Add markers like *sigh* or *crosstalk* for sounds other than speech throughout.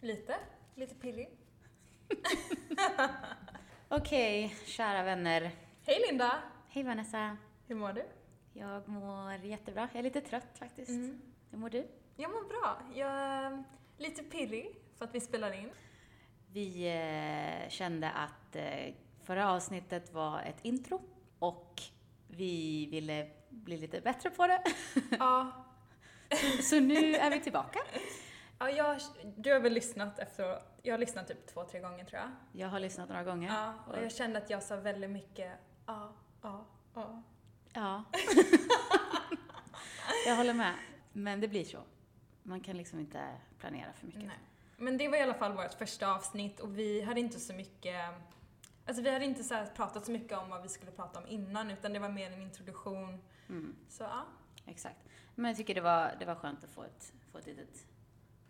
Lite. Lite pillig. Okej, kära vänner. Hej Linda! Hej Vanessa. Hur mår du? Jag mår jättebra. Jag är lite trött faktiskt. Mm. Hur mår du? Jag mår bra. Jag är lite pirrig för att vi spelar in. Vi eh, kände att eh, förra avsnittet var ett intro och vi ville bli lite bättre på *laughs* det. ja, Så nu är vi tillbaka. ja jag, du har väl lyssnat efter... Jag har lyssnat typ två, tre gånger tror jag. Jag har lyssnat några gånger. Ja, och jag kände att jag sa väldigt mycket ja, ja, ja. Ja. *laughs* jag håller med. Men det blir så. Man kan liksom inte planera för mycket. Nej. Men det var i alla fall vårt första avsnitt och vi hade inte så mycket... Alltså vi hade inte så här pratat så mycket om vad vi skulle prata om innan utan det var mer en introduktion. Mm, Så ja, exakt. Men jag tycker det var, det var skönt att få ett, få ett litet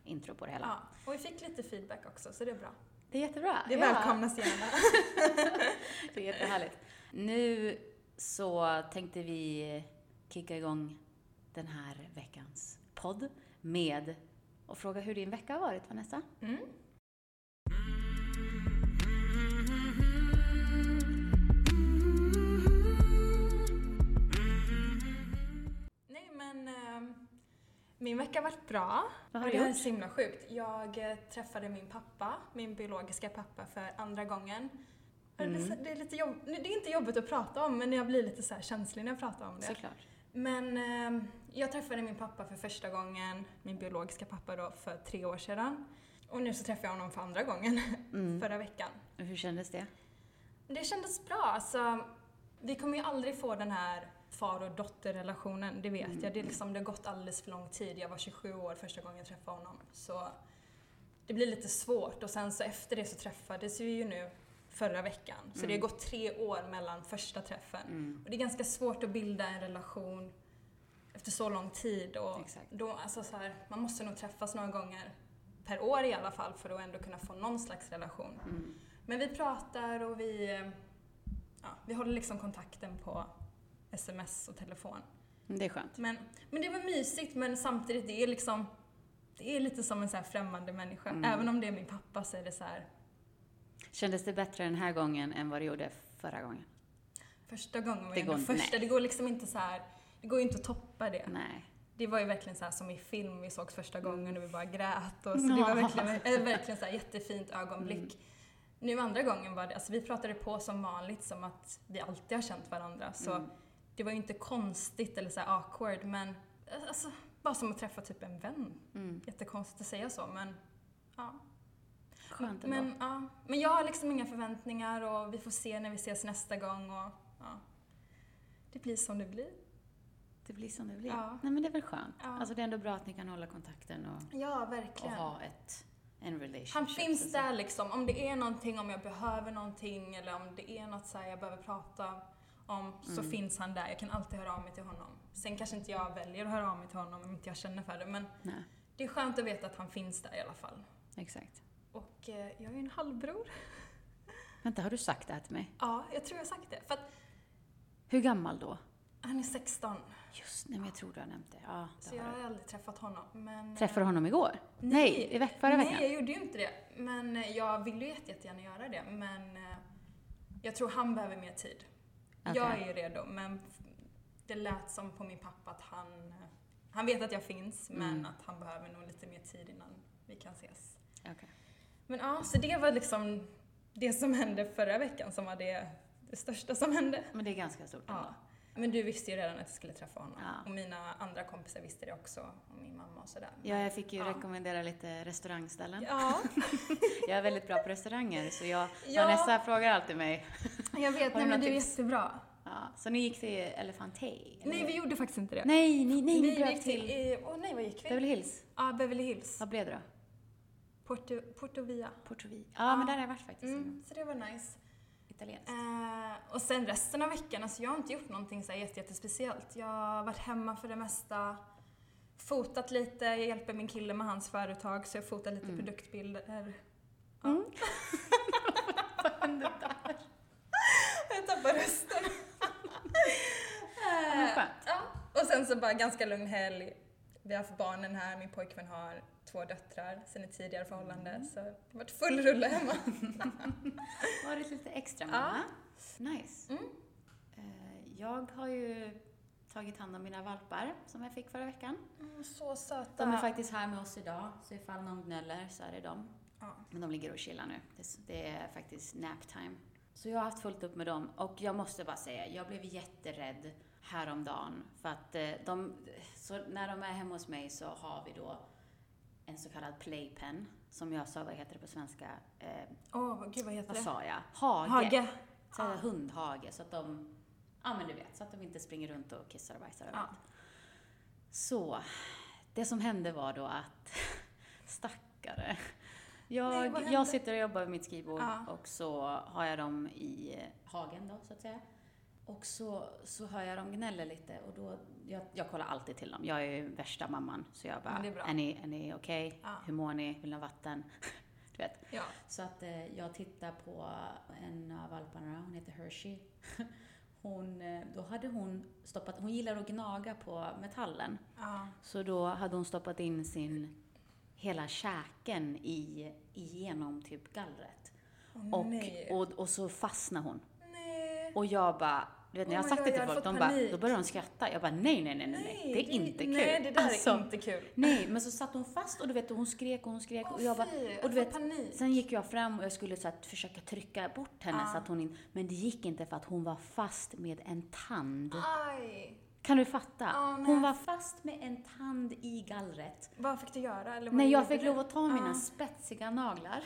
intro på det hela. ja. Och vi fick lite feedback också så det är bra. Det är jättebra. Det välkomnas gärna. Det är jättehärligt. Nu så tänkte vi kicka igång den här veckans podd med och fråga hur din vecka har varit, Vanessa. Mm. Nej men eh, min vecka har varit bra. Vad har Och du det här är gjort? så himla sjukt. Jag eh, träffade min pappa, min biologiska pappa, för andra gången. Och Mm. Det, är så- det, är lite jobb... det är inte jobbigt att prata om men jag blir lite så här känslig när jag pratar om det. Såklart. Men eh, jag träffade min pappa för första gången, min biologiska pappa då, för tre år sedan. Och nu så träffade jag honom för andra gången, *laughs* Mm. förra veckan. Och Hur kändes det? Det kändes bra. Alltså, vi kommer ju aldrig få den här far och dotterrelationen, det vet jag. Det, är liksom, det har gått alldeles för lång tid. Jag var 27 år första gången jag träffade honom. Så det blir lite svårt. Och sen så efter det så träffades vi ju nu förra veckan. Så det har gått tre år mellan första träffen. Mm. Och det är ganska svårt att bilda en relation efter så lång tid. Och Exakt. då, alltså så här, man måste nog träffas några gånger per år i alla fall för att ändå kunna få någon slags relation. Mm. Men vi pratar och vi, eh, ja, vi håller liksom kontakten på sms och telefon. Mm, Det är skönt. Men, men det var mysigt men samtidigt, det är liksom det är lite som en så här främmande människa. Mm. Även om det är min pappa så är det så här Kändes det bättre den här gången än vad det gjorde förra gången? första gången var Det jag ändå går- första. nej. Det går liksom inte så här, det går ju inte att toppa det. Nej. Det var ju verkligen så här som i film, vi sågs första gången och vi bara grät. Och så det var verkligen, äh, verkligen så här jättefint ögonblick. Nu andra gången var det, alltså vi pratade på som vanligt som att vi alltid har känt varandra. Så Mm. det var ju inte konstigt eller så här awkward men alltså, bara som att träffa typ en vän. Mm. Jättekonstigt att säga så men ja. Skönt ändå. Men, ja. men jag har liksom inga förväntningar och vi får se när vi ses nästa gång och ja. Det blir som det blir. Det blir som det blir. Ja. Nej, men det är väl skönt. Ja. Alltså, det är ändå bra att ni kan hålla kontakten och, Ja, och verkligen. ha ett, en relationship. Alltså. Han så att finns säga. där liksom, om det är någonting, om jag behöver någonting eller om det är något så här jag behöver prata om så Mm. finns han där. Jag kan alltid höra av mig till honom. Sen kanske inte jag väljer att höra av mig till honom om inte jag känner för det men Nej, det är skönt att veta att han finns där i alla fall. exakt. Och eh, jag är ju en halvbror. Vänta, har du sagt det här till mig? Ja, jag tror jag har sagt det. För att Hur gammal då? han är 16 Just nej, men jag tror du har nämnt det. Ja, så det jag har du. har aldrig träffat honom. Men, eh, Träffade du honom igår? Nej, i veck, förra Nej, veckan? jag gjorde ju inte det. Men eh, jag ville ju jätte- jättegärna göra det, men eh, jag tror han behöver mer tid. Okej. Jag är ju redo, men f- det lät som på min pappa att han... eh, Han vet att jag finns, Mm. men att han behöver nog lite mer tid innan vi kan ses. Okej. Men ja, så det var liksom det som hände förra veckan som var det, det största som hände. Men det är ganska stort ändå. Ja. Men du visste ju redan att jag skulle träffa honom. Ja. Och mina andra kompisar visste det också, och min mamma och sådär. Ja, jag fick ju Ja. rekommendera lite restaurangställen. Ja, Jag är väldigt bra på restauranger, så *laughs* jag, Ja. Vanessa frågar alltid mig. *laughs* Har jag vet. du Nej, men några det är tips? jättebra. Ja, så ni gick till Elefantej? eller? Nej, vi gjorde faktiskt inte det. nej, nej, nej, ni vi bröt gick till... till eh, Åh nej, vad gick vi? Beverly Hills. Ja, Beverly Hills. Vad blev det då? Porto, Porto Via. Porto Vi. Ja, men där har jag varit faktiskt. Mm, så det var nice. *laughs* Italienskt. Eh, och sen resten av veckan, alltså jag har inte gjort någonting så här jätte, jättespeciellt. Jag har varit hemma för det mesta, fotat lite, jag hjälper min kille med hans företag så jag fotar lite produktbilder. Ja. Vad hände där? *laughs* Jag tappar rösten. men Eh, skönt. ja. Och sen så bara ganska lugn helg. Vi har haft barnen här, min pojkvän har två döttrar sen ett tidigare förhållande så det har varit full rulle hemma. Varit lite extra Ja. mamma. Nice. Mm. Eh, Jag har ju tagit hand om mina valpar som jag fick förra veckan. Mm, så söta. De är faktiskt här med oss idag, så ifall någon gnäller så är det dem. ja. Men de ligger och chillar nu. Det- Det är faktiskt nap time. Så jag har haft fullt upp med dem och jag måste bara säga, jag blev jätterädd häromdagen för att eh, de, så när de är hemma hos mig så har vi då en så kallad playpen som jag sa, vad heter det på svenska? Eh, Åh, vad- gud vad heter vad det? sa jag? Hage. Hage. Så här, Hundhage, så att de, ja men du vet, så att de inte springer runt och kissar och bajsar Ja. så, det som hände var då att, *laughs* stackare. Nej, Jag, vad hände? jag sitter och jobbar vid mitt skrivbord Ja. och så har jag dem i hagen då, så att säga. Och så, så hör jag dem gnälla lite och då, jag, jag kollar alltid till dem. Jag är ju värsta mamman, så jag bara, Men det är bra. är, ni, är ni okej? Ja. Hur mår ni? Vill ni ha vatten? du vet. Ja. Så att eh, jag tittar på en av valparna, hon heter Hershey. *laughs* Hon, eh, då hade hon stoppat, hon gillar att gnaga på metallen. ja. Så då hade hon stoppat in sin hela käken i, igenom typ gallret. Åh, Och, nej. och, och så fastnade hon. nej. Och jag bara, du vet när jag Oh my har sagt God, det till jag hade folk, de fått bara, panik. då börjar de skratta. Jag bara, nej, nej, nej, nej, nej. det är inte kul. Nej, det där Alltså, är inte kul. Nej, men så satt hon fast och du vet, och hon skrek och hon skrek och jag bara, fy, och du jag vet, får panik. sen gick jag fram och jag skulle så att försöka trycka bort henne Ah. så att hon inte, men det gick inte för att hon var fast med en tand. Aj! Kan du fatta? Ah, nej. hon var fast med en tand i gallret. Vad fick du göra? Eller vad Nej, jag gjorde fick du? lov att ta mina Ah. spetsiga naglar.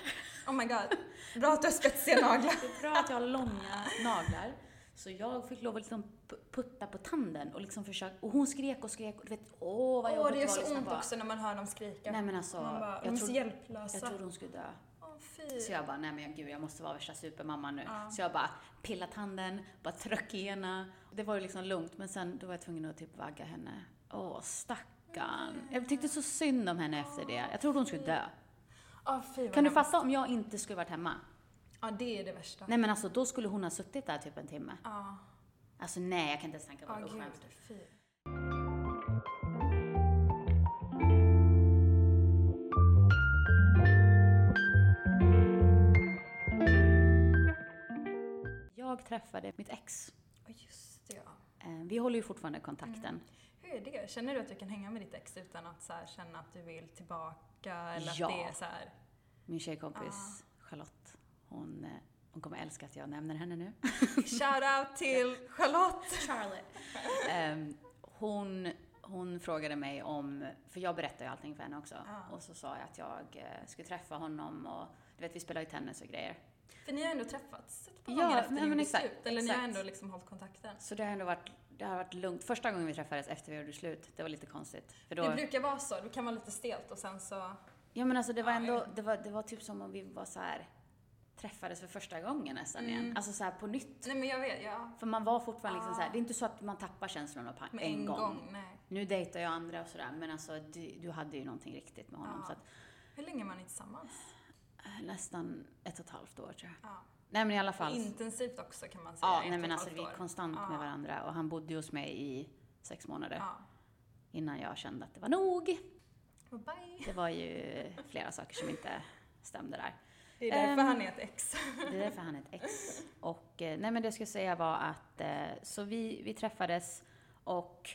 Oh my god. Bra att du har spetsiga naglar. Det är bra att jag har långa naglar. Så jag fick lov att liksom pu- putta på tanden och liksom försöka, och hon skrek och skrek och du vet, åh *laughs* vad Åh, jobbigt det gör var att så lyssna ont på. också när man hör dem skrika. Nej men alltså, man bara, de är jag, så trodde, hjälplösa. jag trodde hon skulle dö. Åh, fy. Så jag bara, nej men gud jag måste vara värsta supermamma nu. Ja. Så jag bara pillade tanden, bara tryck i henne. Det var ju liksom lugnt men sen då var jag tvungen att typ vagga henne. Åh stackarn. Jag tyckte så synd om henne efter det. Jag trodde hon skulle dö. Åh, fy, vad Kan du hemskt. fatta om jag inte skulle varit hemma? Ja, det är det värsta. Nej men alltså då skulle hon ha suttit där typ en timme. Ja, Alltså nej jag kan inte ens tänka på ja det. Usch, vad hemskt. gud. Fy. Jag träffade mitt ex. Ja, just det ja. Eh, Vi håller ju fortfarande kontakten. Mm. Hur är det? Känner du att du kan hänga med ditt ex utan att så här, känna att du vill tillbaka? Eller Ja. att det är så här... Min tjejkompis Charlotte, hon, eh, hon kommer älska att jag nämner henne nu. Shout *laughs* out till Charlotte! Charlotte. Ehm, hon, hon frågade mig om, för jag berättade ju allting för henne också, Ja. och så sa jag att jag eh, skulle träffa honom och du vet vi spelar ju tennis och grejer. För ni har ändå träffats ett par Ja, gånger efter nej, din men gjorde exakt, slut. Eller ni har exakt. ändå liksom hållit kontakten. Så det har ändå varit, det har varit lugnt. Första gången vi träffades efter vi gjorde slut, det var lite konstigt. För då, Det brukar vara så. Det kan vara lite stelt och sen så... ja men alltså det var Ja, jag ändå, det var, det var typ som om vi var så här träffades för första gången nästan igen. Alltså så här på nytt. Nej men jag vet, ja. För man var fortfarande liksom Mm. Ah. så här, det är inte så att man tappar känslorna på en, Med en gång. gång. nej. Nu dejtar jag andra och sådär, men alltså du, du hade ju någonting riktigt med honom. Ja. Så att, Hur länge var ni tillsammans? Eh, Nästan ett och ett halvt år tror jag. Ja. Nej men i alla fall. Intensivt också kan man säga. ja, ett nej och men ett alltså halvt vi är år. konstant Ja. med varandra och han bodde ju hos mig i sex månader Ja. innan jag kände att det var nog. Och bye. Det var ju flera saker som inte stämde där. Det är därför Ehm. han är ett ex. Det är därför han är ett ex. Och eh, nej men det jag skulle säga var att, eh, så vi, vi träffades och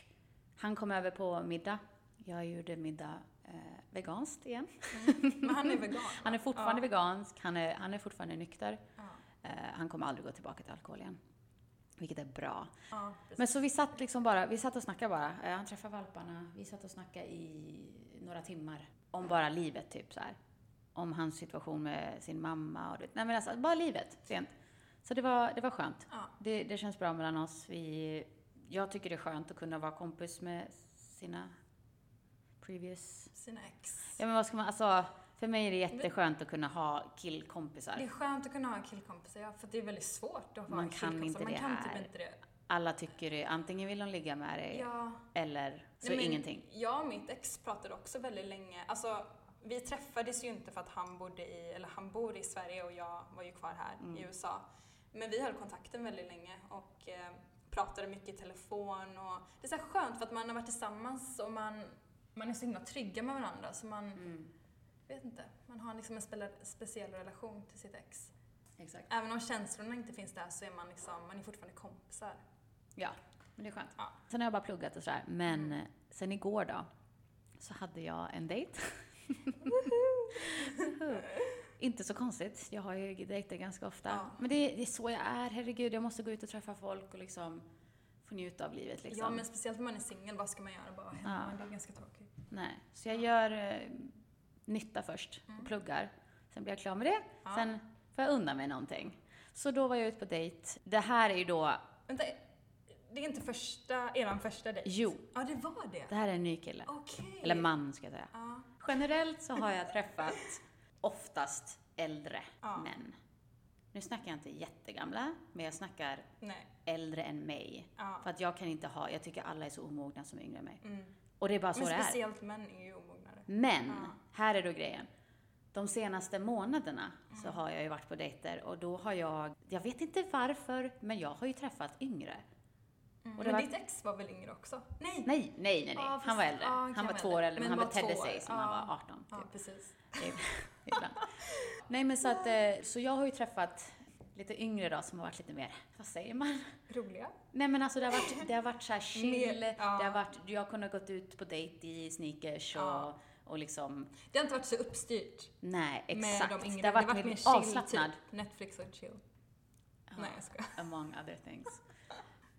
han kom över på middag. Jag gjorde middag eh, veganskt igen. *laughs* Mm. Men han är vegan. *laughs* Han är va? fortfarande ja. vegansk, han är, han är fortfarande nykter. Ja. Eh, han kommer aldrig gå tillbaka till alkohol igen. Vilket är bra. Ja, precis. Men så vi satt liksom bara, vi satt och snackade bara. Eh, Han träffade valparna, vi satt och snackade i några timmar. Om bara livet typ så här. Om hans situation med sin mamma och du vet. Nej men alltså, bara livet. Sent. Så det var, det var skönt. Ja. Det, det känns bra mellan oss. Vi, jag tycker det är skönt att kunna vara kompis med sina previous... Sina ex. Ja men vad ska man, alltså. För mig är det jätteskönt att kunna ha killkompisar. Det är skönt att kunna ha killkompisar, ja, för det är väldigt svårt att ha Man en kan killkompis. inte Man det kan här. typ inte det. alla tycker det, antingen vill de ligga med dig Ja. eller så Nej, men ingenting. Jag och mitt ex pratade också väldigt länge. Alltså, vi träffades ju inte för att han bodde i, eller han bor i Sverige och jag var ju kvar här Mm. i USA. Men vi höll kontakten väldigt länge och eh, pratade mycket i telefon och Mm, det är så här skönt för att man har varit tillsammans och man, man är så himla trygga med varandra så man, vet inte, man har liksom en spela- speciell relation till sitt ex. Exakt. Även om känslorna inte finns där så är man liksom, man är fortfarande kompisar. Ja, men det är skönt. Ja. Sen har jag bara pluggat och sådär. Men Mm. eh, sen igår då, så hade jag en dejt. Woho! *laughs* Inte så konstigt, jag har ju dejter ganska ofta. Ja. Men det är, det är så jag är, herregud. Jag måste gå ut och träffa folk och liksom få njuta av livet liksom. Ja, men speciellt när man är singel, vad ska man göra? Bara hemma, Ja. det är ganska tråkigt. Nej. Så jag gör eh, nytta först och Mm. pluggar. Sen blir jag klar med det. Ja. Sen får jag unna mig någonting. Så då var jag ute på dejt. Det här är ju då, Vänta, det är inte första, eran första dejt? Jo. Ja, det var det? det här är en ny kille. Okej. Eller man ska jag säga. Ja. Generellt så har jag träffat oftast äldre Ja. män. Nu snackar jag inte jättegamla, men jag snackar Nej. äldre än mig. Ja. För att jag kan inte ha, jag tycker alla är så omogna som är yngre än mig. Mm. Och det är bara så Men det är. speciellt män är ju omognare. Men, Ja. här är då grejen. De senaste månaderna så Mm. har jag ju varit på dejter och då har jag, jag vet inte varför, men jag har ju träffat yngre. Mm. Och det Men var- ditt ex var väl yngre också? Nej! Nej, nej, nej, nej. Ja, han fast- var äldre. ja, okej, han var två år äldre, men, han bara betedde två år. sig som Ja. han var 18. Ja, Typ. precis. ibland. Nej men så att, eh, så jag har ju träffat lite yngre då som har varit lite mer, vad säger man? Roliga. Nej men alltså det har varit, det har varit så här chill, Mer, ja. det har varit, jag har kunnat gått ut på dejt i sneakers och, Ja. och liksom, Det har inte varit så uppstyrt nej med exakt. de yngre. det har varit, mer avslappnad. typ. Netflix och chill. Ja, Nej, jag skojar. among other things.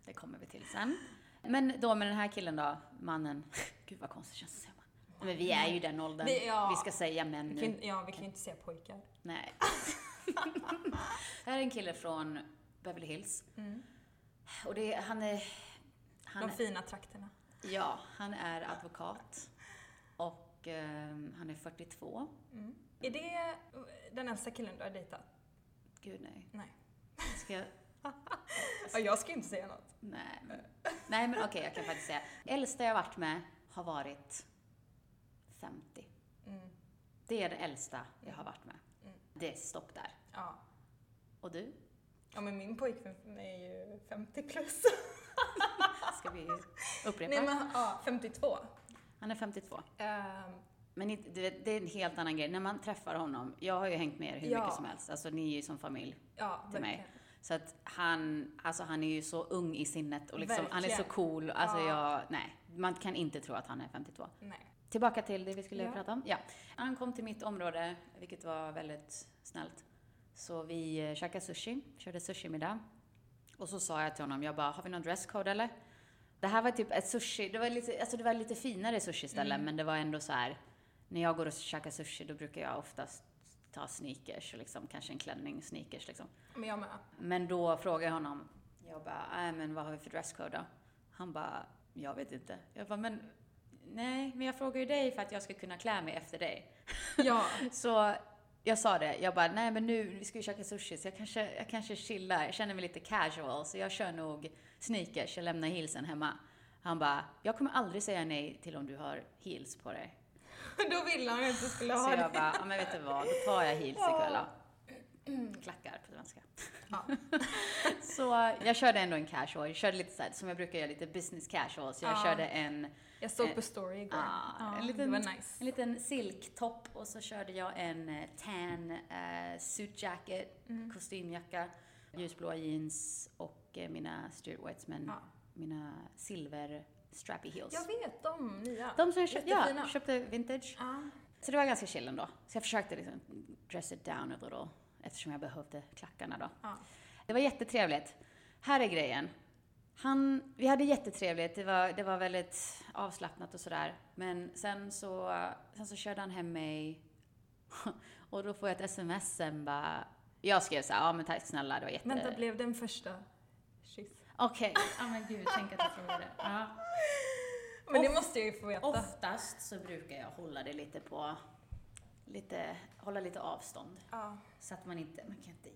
Det kommer vi till sen. Men då med den här killen då, mannen. Gud vad konstigt känns det att säga man. Nej, Men vi är ju i den åldern. Vi- ja. Vi ska säga män Vi nu. kan, ju- ja, vi kan ju inte säga pojkar. Nej. det här är en kille från Beverly Hills. Och det, är- han är... Han, Mm. De fina trakterna. ja, han är advokat. Och ehm, han är 42. Mm. Är det den äldsta killen du har dejtat? Gud nej. Nej. Ska jag, Ja, jag ska ju inte säga något. nej. men- Nej men okej, jag kan faktiskt säga. Äldsta jag varit med har varit 50. Mm. Det är det äldsta jag har varit med. Mm. Det är stopp där. Ja. Och du? ja, men min pojkvän är ju 50 plus. *laughs* Ska vi upprepa? Nej, men ja, 52. Han är 52. Ehm, Men inte- du vet, det är en helt annan grej. När man träffar honom, jag har ju hängt med er hur Ja. mycket som helst, alltså ni är ju som familj. ja, Till mig. verkligen. Så att han, alltså han är ju så ung i sinnet och liksom, han är så Verkligen. cool. Alltså Ja. jag, nej, man kan inte tro att han är 52. Nej. Tillbaka till det vi skulle Ja. prata om. Ja. Han kom till mitt område, vilket var väldigt snällt. Så vi eh, käkade sushi, körde sushimiddag. Och så sa jag till honom, jag bara, har vi någon dresscode eller? Det här var typ ett sushi, det var lite, alltså det var lite finare sushiställe, Mm. men det var ändå så här. När jag går och käkar sushi, då brukar jag oftast ta sneakers, och liksom, kanske en klänning, sneakers liksom. Men jag med. Men då frågade jag honom, jag bara, nej men vad har vi för dresscode då? Han bara, jag vet inte. Jag bara, men nej, men jag frågar ju dig för att jag ska kunna klä mig efter dig. Ja. *laughs* Så jag sa det, jag bara, nej men nu, vi ska ju käka sushi så jag kanske, jag kanske chillar, jag känner mig lite casual så jag kör nog sneakers, jag lämnar heelsen hemma. Han bara, jag kommer aldrig säga nej till om du har heels på dig. Då ville han ju att du skulle ha Så jag det. bara, ja men vet du vad, då tar jag heels ikväll då. Klackar på svenska. Mm. Ja. *laughs* Så jag körde ändå en casual, jag körde lite så här, som jag brukar göra, lite business casual. Så jag Ja. körde en, Jag såg på story igår. eh, Ah, Ja, en liten- det var nice. en liten silktopp och så körde jag en eh, tan eh, suit jacket, Mm. kostymjacka, ljusblåa jeans och eh, mina Stuart Weitzman, Ja. mina silver strappy heels. Jag vet, de nya. De som jag köpte, ja, Jättefina. köpte vintage. Ja. Så det var ganska chill ändå. Så jag försökte liksom dress it down a little eftersom jag behövde klackarna då. Ja. Det var jättetrevligt. Här är grejen. Han, vi hade jättetrevligt, det var, det var väldigt avslappnat och sådär. Men sen så, sen så körde han hem mig *laughs* och då får jag ett sms sen bara. Jag skrev såhär, ja men tack snälla, det var jätte... Vänta, blev den första kyss? Okej. *laughs* Ja men gud, tänk att jag frågade. Ja. Men det måste jag ju få *laughs* veta. Oftast så brukar jag hålla det lite på, lite, hålla lite avstånd. Ja. Så att man inte, man kan inte,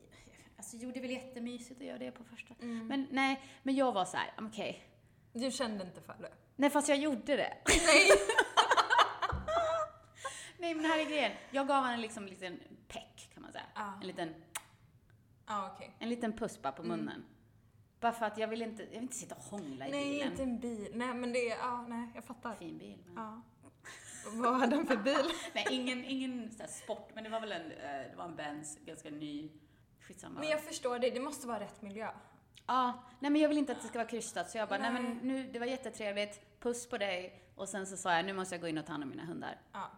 alltså jo det är väl jättemysigt att göra det på första. Mm. Men nej, men jag var så här, okej. Du kände inte för det? Nej fast jag gjorde det. Nej! *laughs* Nej men här är grejen, jag gav honom liksom en liten peck kan man säga. Ja, Mm. En liten, ja okej. en liten puss bara på munnen. Bara för att jag vill inte, jag vill inte sitta och hångla i Nej, bilen. inte en bil. Nej, men det är, ja, nej, jag fattar. Fin bil. Men... Ja. Vad hade han för bil? Nej, ingen, ingen så här sport, men det var väl en, eh, det var en Benz, ganska ny. Skitsamma. Men jag förstår det, det måste vara rätt miljö. Ja, nej men jag vill inte att det ska vara krystat så jag bara, nej, Nej. men nu, det var jättetrevligt, puss på dig. Och sen så sa jag, nu måste jag gå in och ta hand om mina hundar. Ja.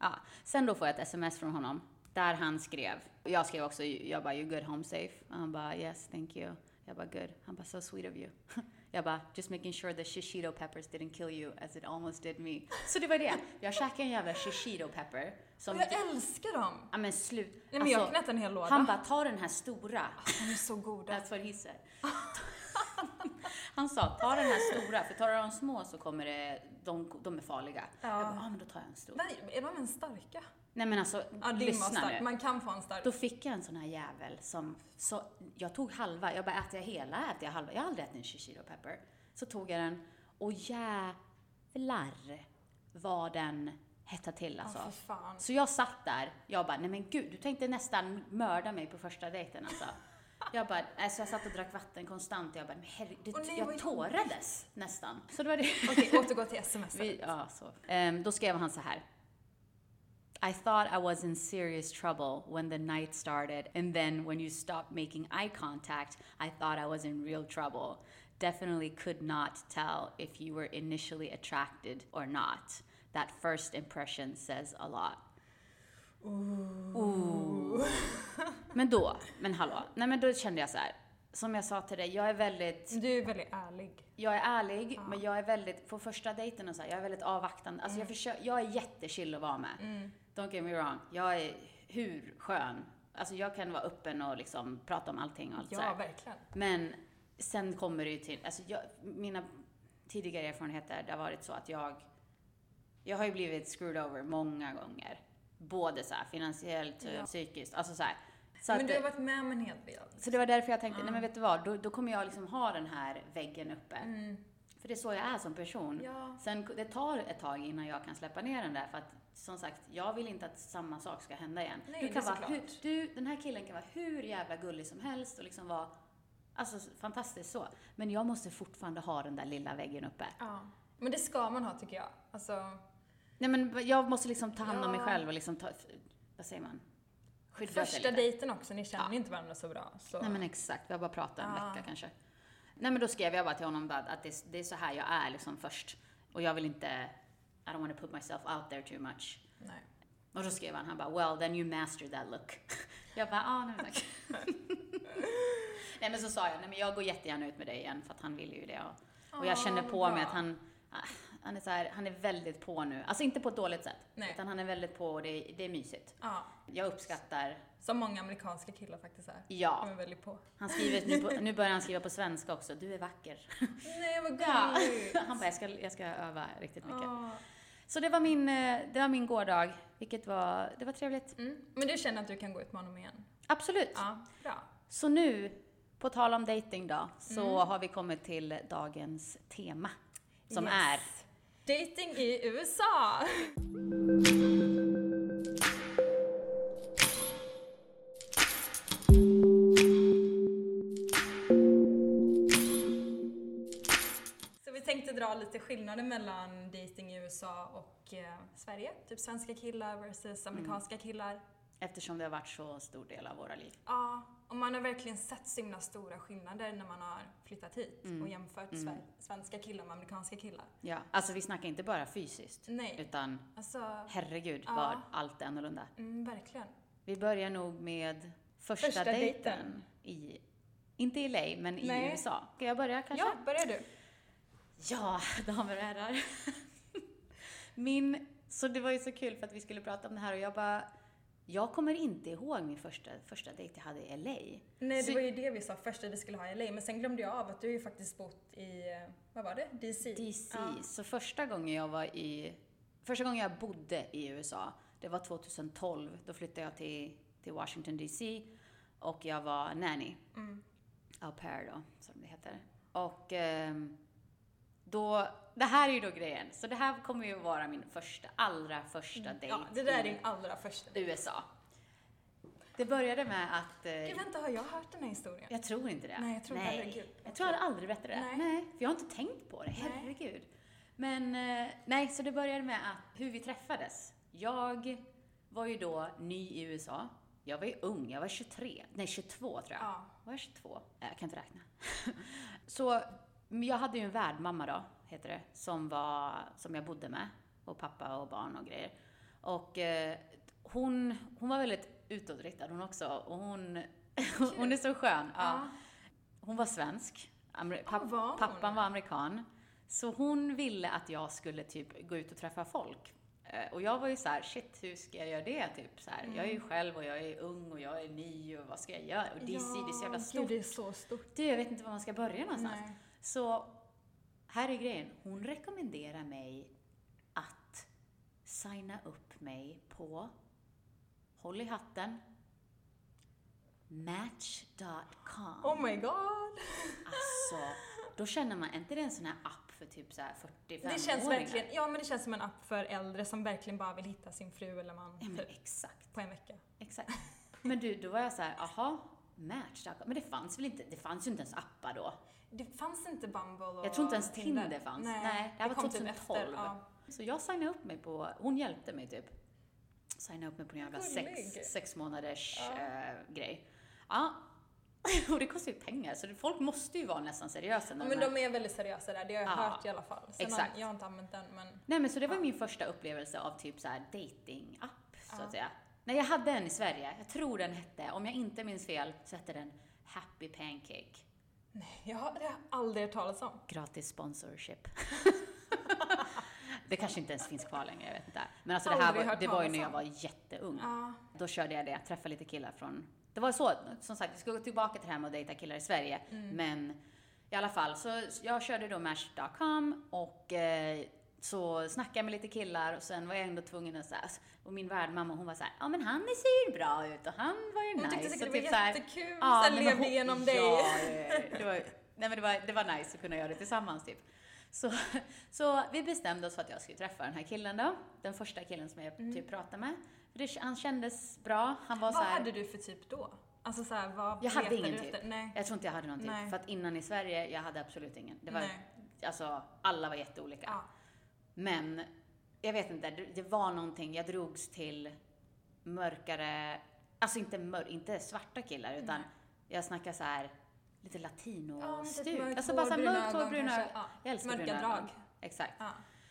Ja, sen då får jag ett sms från honom där han skrev, och jag skrev också, jag bara, you good home safe? Och han bara, yes, thank you. Jag bara, good. Han bara, so sweet of you. *laughs* Jag bara, just making sure the shishito peppers didn't kill you as it almost did me. Så det var det. Jag käkade en jävla shishito pepper som... Jag älskar dem! Ja men slut. Nej men jag knät en hel låda. Alltså, han bara, ta den här stora. de är så goda. That's what he said. Han sa, ta den här stora, för tar du de små så kommer det, de, de är farliga. Ja. Jag bara, ah, men då tar jag en stor. Nej, är de ens starka? Nej men alltså, Ja, din var lyssna stark. nu. Man kan få en stark. Då fick jag en sån här jävel som, så, jag tog halva, jag bara, äter jag hela, äter jag halva? Jag har aldrig ätit en shishiro pepper. Så tog jag den, och jävlar vad den hettade till alltså. Ja, för fan. Så jag satt där, jag bara, nej men gud, du tänkte nästan mörda mig på första dejten alltså. Jag bara, alltså jag satt och drack vatten konstant och jag bara, men herregud, Åh, nej, vad jag jobbigt. tårades nästan. Så det var det. Okej, återgå till sms. Vi, ja, så. Ehm, då skrev han så här. I thought I was in serious trouble when the night started and then when you stopped making eye contact I thought I was in real trouble. Definitely could not tell if you were initially attracted or not. That first impression says a lot. Ooh. Men då, men hallå. Nej men då kände jag så här. Som jag sa till dig, jag är väldigt Du är väldigt ärlig. jag är ärlig, men jag är väldigt, på första dejten och så här, jag är väldigt avvaktande. Alltså jag, Mm. försöker, jag är jättechill att vara med. Don't get me wrong. Jag är hur skön. Alltså jag kan vara öppen och liksom prata om allting och allt så Ja, här. verkligen. Men sen kommer det ju till, alltså jag, mina tidigare erfarenheter, det har varit så att jag, jag har ju blivit screwed over många gånger. Både så här finansiellt och Ja. psykiskt, alltså så här. Så Men att- du har varit med om en hel del. så det var därför jag tänkte, nej men vet du vad, då, då kommer jag liksom ha den här väggen uppe. För det är så jag är som person. Mm. Ja. Sen det tar ett tag innan jag kan släppa ner den där för att som sagt, jag vill inte att samma sak ska hända igen. Nej, du det kan är vara såklart. hur, du, den här killen kan vara hur jävla gullig som helst och liksom vara Alltså fantastiskt så. Men jag måste fortfarande ha den där lilla väggen uppe. Ja. Men det ska man ha tycker jag. Alltså, Nej men jag måste liksom ta hand om mig Ja. själv och liksom ta, vad säger man? Skydda sig lite. första dejten också, ni känner Ja. ju inte varandra så bra. Så. Nej men exakt, vi har bara pratat en Ja. vecka kanske. Nej men då skrev jag bara till honom bara att det, är- det är så här jag är liksom först. Och jag vill inte, I don't want to put myself out there too much. Nej. Och då skrev han, han bara well then you mastered that look. *laughs* Jag bara, ah nej men *laughs* tack. nej men så sa jag, nej men jag går jättegärna ut med dig igen för att han ville ju det. Och, och jag Ah, kände vad på mig bra. att han, ah, han är så här, han är väldigt på nu. Alltså inte på ett dåligt sätt. Nej. Utan han är väldigt på och det, det är mysigt. Ja. Jag uppskattar Som många amerikanska killar faktiskt är. Ja. De är väldigt på. Han skriver, nu, på, nu börjar han skriva på svenska också, du är vacker. *laughs* Nej vad Ja. gulligt! Han bara, jag ska, jag ska öva riktigt mycket. Ja. Så det var min, eh, det var min gårdag, vilket var, det var trevligt. Mm. Men du känner att du kan gå ut med honom igen? Absolut. Ja, bra. Så nu, på tal om dating då, så Mm. har vi kommit till dagens tema. Som Yes. är, Dating i USA! Så vi tänkte dra lite skillnader mellan dating i USA och eh, Sverige. Typ svenska killar versus amerikanska killar. eftersom det har varit så stor del av våra liv. Ja, och man har verkligen sett så himla stora skillnader när man har flyttat hit och Mm. jämfört sve- svenska killar med amerikanska killar. Ja. Alltså vi snackar inte bara fysiskt, Nej, utan alltså herregud Ja. vad allt är annorlunda. mm, verkligen. Vi börjar nog med första, Första dejten, dejten. i, inte i LA, men i Nej. USA. Ska jag börja kanske? Ja, börjar du. Ja, *laughs* damer och herrar. Min, så det var ju så kul för att vi skulle prata om det här och jag bara, jag kommer inte ihåg min första, första dejt jag hade i LA. Nej, Så- det var ju det vi sa först att vi skulle ha i LA, men sen glömde jag av att du har ju faktiskt bott i, eh, vad var det? DC? DC. Ja. Så första gången jag var i, första gången jag bodde i USA, det var 2012. Då flyttade jag till, till Washington DC och jag var nanny. Mm. Au pair då, som det heter. Och ehm, då, det här är ju då grejen. Så det här kommer ju vara min första, allra första dejt Mm. Ja, det där är i din allra första. USA. Det började med att... eh, Gud, vänta, har jag hört den här historien? jag tror inte det. Nej, jag tror inte Nej. det. Gud, Jag tror jag aldrig berättade det. Nej. Nej. För jag har inte tänkt på det. Nej. Herregud. Men eh, nej, så det började med att hur vi träffades. Jag var ju då ny i USA. Jag var ju ung, jag var 23, nej 22 tror jag. Ja. Var jag 22? Nej, Jag kan inte räkna. *laughs* så men jag hade ju en värdmamma då, heter det, som, var, som jag bodde med. Och pappa och barn och grejer. Och eh, hon, hon var väldigt utåtriktad hon också. Och hon, *laughs* hon är så skön. Ja. Hon var svensk. Amer- Ja, var hon? Pappan var amerikan. Så hon ville att jag skulle typ gå ut och träffa folk. Eh, Och jag var ju så här, shit hur ska jag göra det? Typ så här, Jag är ju Mm. själv och jag är ung och jag är ny och vad ska jag göra? Och DC, det är så jävla stort. Gud, det är så stort. Du, jag vet inte var man ska börja någonstans. Nej. Så här är grejen. Hon rekommenderar mig att signa upp mig på, håll i hatten, match.com. Oh my god! Alltså, då känner man, är inte det en sån här app för typ så här 45-åringar? Det känns verkligen, ja men det känns som en app för äldre som verkligen bara vill hitta sin fru eller man Ja, men typ, exakt. på en vecka. Exakt. Men du, då var jag så här, aha, match.com. Men det fanns väl inte, det fanns ju inte ens appar då. Det fanns inte Bumble och Jag tror inte ens Tinder, fanns. Nej, det här var kom typ 2012. efter, ja. Så jag signade upp mig på, hon hjälpte mig typ. Signa upp mig på en jävla sex, Gullig. sex månaders Ja. eh, grej. Ja. *laughs* Och det kostar ju pengar, så det- folk måste ju vara nästan seriösa när Ja, Men de är- de är väldigt seriösa där, det har jag Ja, hört i alla fall. Sen exakt. Har, jag har inte använt den men Nej men så det var min första upplevelse av typ så här dating-app, så Ja. att säga. Nej, jag hade en i Sverige. Jag tror den hette, om jag inte minns fel, så hette den Happy Pancake. nej, jag har, det har jag aldrig hört talas om. Gratis sponsorship. *laughs* det kanske inte ens finns kvar längre, jag vet inte. Men alltså det här Aldrig var, hört det var ju talas när jag om. var jätteung. Ja, Då körde jag det, jag träffade lite killar från... Det var så, som sagt, vi ska gå tillbaka till det här med att dejta killar i Sverige. Mm. Men i alla fall, så jag körde då Match.com och eh, så snackade jag med lite killar och sen var jag ändå tvungen att säga och min värdmamma hon var såhär, ja men han ser ju bra ut och han var ju hon nice. tyckte säkert och det typ var så här, jättekul, Ja, sen nej, men levde hon- igenom ja, dig. *laughs* Ja, ja, ja. det var, nej, men det, var, det var nice att kunna göra det tillsammans typ. Så, så vi bestämde oss för att jag skulle träffa den här killen då. Den första killen som jag typ pratade med. För det, han kändes bra. Han var Mm. *laughs* Vad så här, hade du för typ då? Alltså så här, vad Jag hade letade ingen du typ. efter? Nej. Jag tror inte jag hade någon typ. Nej. För att innan i Sverige, jag hade absolut ingen. Det var, Nej. alltså, alla var jätteolika. Ja. Men jag vet inte, det- det var någonting. Jag drogs till mörkare, alltså inte, mör, inte svarta killar utan jag snackar så här lite Ja, men typ latino-stuk. mörkt alltså hår, bara så här bruna mörkt hår, ögon bruna kanske. ögon. Ja. Jag älskar Mörka bruna drag. ögon. Exakt. Ja.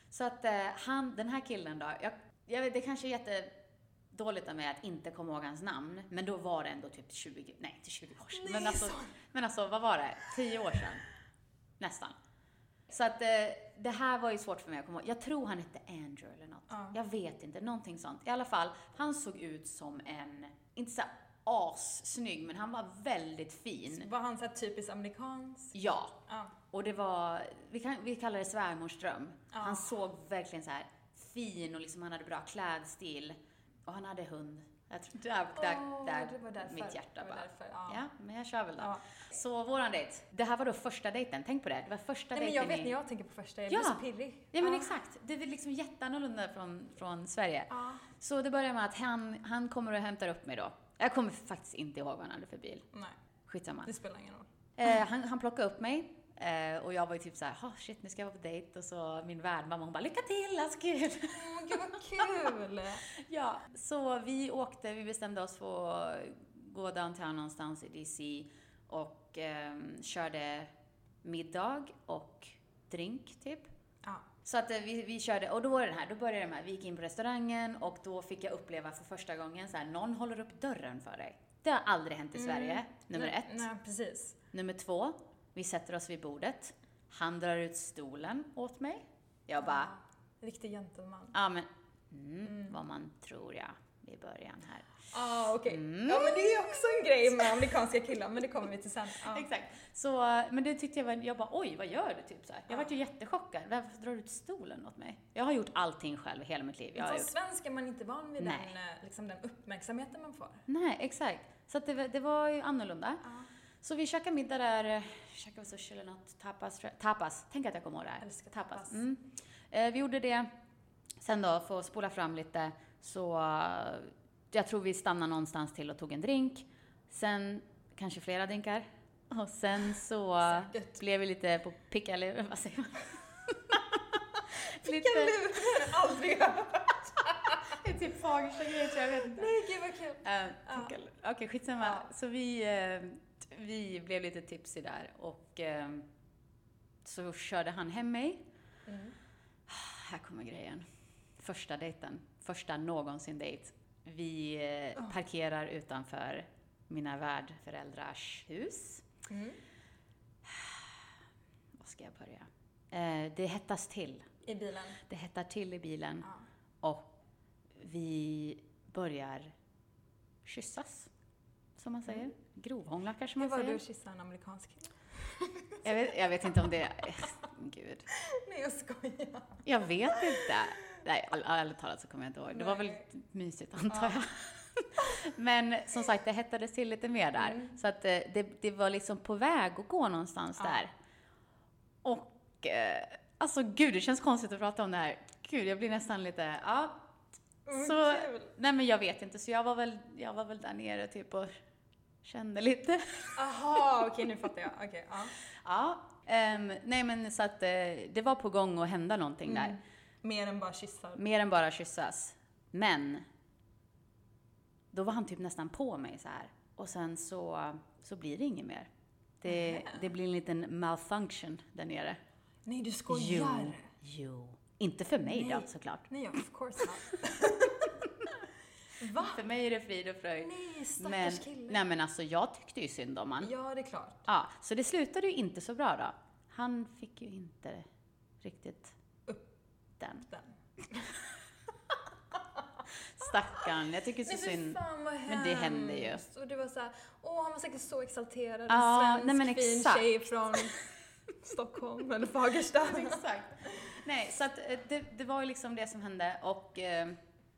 Så att eh, han, den här killen då, jag, jag vet, det kanske är jättedåligt av mig att inte komma ihåg hans namn, men då var det ändå typ 20, nej inte 20 år sedan, Nej, men, alltså, så- men alltså vad var det? 10 år sedan? Nästan. Så att eh, det här var ju svårt för mig att komma ihåg. Jag tror han hette Andrew eller något. Ja. Jag vet inte, någonting sånt. I alla fall, han såg ut som en, inte så här assnygg, men han var väldigt fin. Var han så här typiskt amerikansk? Ja, Ja. och det var, vi, kan, vi kallar det svärmorsdröm. Ja. Han såg verkligen så här fin och liksom han hade bra klädstil. Och han hade hund. Jag tror, där, där, Åh, där, det var därför. mitt hjärta Det var bara. därför, ja. Ja, men jag kör väl då. Ja. Så våran dejt. Det här var då första dejten, tänk på det. Det var första Nej men jag dejten vet i... när jag tänker på första, jag Ja. blir så pirrig. Ja men Ja. exakt. Det är väl liksom jätteannorlunda från, från Sverige. Ja. Så det börjar med att han, han kommer och hämtar upp mig då. Jag kommer faktiskt inte ihåg vad han hade för bil. Nej, Skitsamma. det *laughs* spelar ingen roll. Eh, han, han plockade upp mig eh, och jag var ju typ såhär, oh, shit nu ska jag vara på dejt och så min värdmamma hon bara, lycka till, alltså kul! Åh, gud vad kul! ja, så vi åkte, vi bestämde oss för att gå downtown någonstans i DC och ehm, körde middag och drink typ. ja. Så att eh, vi, vi körde, och då var det den här, då började det med att vi gick in på restaurangen och då fick jag uppleva för första gången så här, någon håller upp dörren för dig. Det har aldrig hänt i Sverige, nummer Mm, nej, ett. Nej, precis. Nummer två, vi sätter oss vid bordet. Han drar ut stolen åt mig. Jag bara, Riktig gentleman. ja men, mm, vad man tror ja, i början här. Ah, okej. Mm. Ja, men det är också en grej med amerikanska killar, men det kommer vi till sen. Ja. Exakt. Så, eh, men det tyckte jag var, jag bara oj, vad gör du? Typ så här. Jag vart ju jättechockad. Varför drar du ut stolen åt mig? Jag har gjort allting själv i hela mitt liv. Jag har Som gjort svensk är man inte van vid Nej. den, eh, liksom, den uppmärksamheten man får. Nej, exakt. Så att det, var- det var ju annorlunda. Ja. Så vi käkade middag där, eh, käkade sushi eller något, tapas. tror jag. Tapas, tänk att jag kommer ihåg det här. Älskar tapas. Mm. Eh, vi gjorde det. Sen då, för att spola fram lite, så eh, jag tror vi stannade någonstans till och tog en drink. Sen kanske flera drinkar. Och sen så Säkert. blev vi lite på pickalur, vad säger man? lite... Vilken lur! *laughs* Aldrig hört. Det är typ Fagersta grejer tror jag, jag vet inte. Nej, gud vad kul. Eh, Ja. Okej, skitsamma. Ja. Så vi, eh, t- vi blev lite tipsy där och eh, så körde han hem mig. Mm. Här kommer grejen. Första dejten. Första någonsin dejt. Vi eh, Oh. parkerar utanför mina värdföräldrars hus. Mm. Var ska jag börja? Eh, det hettas till. I bilen. Det hettar till i bilen Ja. och vi börjar kyssas. Som man säger. Grovhångla kanske Hur man Mm. var säger. du att kyssa en amerikansk kille? Jag vet, jag vet inte om det... Gud. *laughs* Nej, jag skojar. Jag vet inte. Nej, all- ärligt talat så kommer jag inte ihåg. Det var väl Nej. mysigt antar jag. *laughs* Men som sagt, det hettades till lite mer där. Mm. Så att eh, det, det var liksom på väg att gå någonstans Ja. där. Och eh, alltså gud, det känns konstigt att prata om det här. Gud, jag blir nästan lite, ja. Mm, Så, kul. nej men jag vet inte, så jag var väl, jag var väl där nere typ och kände lite. *laughs* Aha, okej nu fattar jag. Okej, ja. Ja, ehm, nej men så att eh, det var på gång att hända någonting där. Mm. Mer än bara kyssar. Mer än bara kyssas. Men då var han typ nästan på mig så här. Och sen så, så blir det inget mer. Det, det blir en liten malfunction där nere. Nej, du skojar. jo. Inte för mig Nej. då såklart. Nej, ja, of course *laughs* not. Va? För mig är det frid och fröjd. Nej, stackars Men, kille. nej men alltså jag tyckte ju synd om han. Ja, det är klart. Ja, så det slutade ju inte så bra då. Han fick ju inte riktigt upp den. Den. Stackarn, jag tycker så Nej, fy synd. fan vad hemskt. Men det händer ju. Och det var såhär, åh han var säkert så exalterad. Ja, en svensk nej, men fin exakt. *laughs* tjej från Stockholm eller Fagersta. Exakt. Nej, så att eh, det, det var ju liksom det som hände och eh,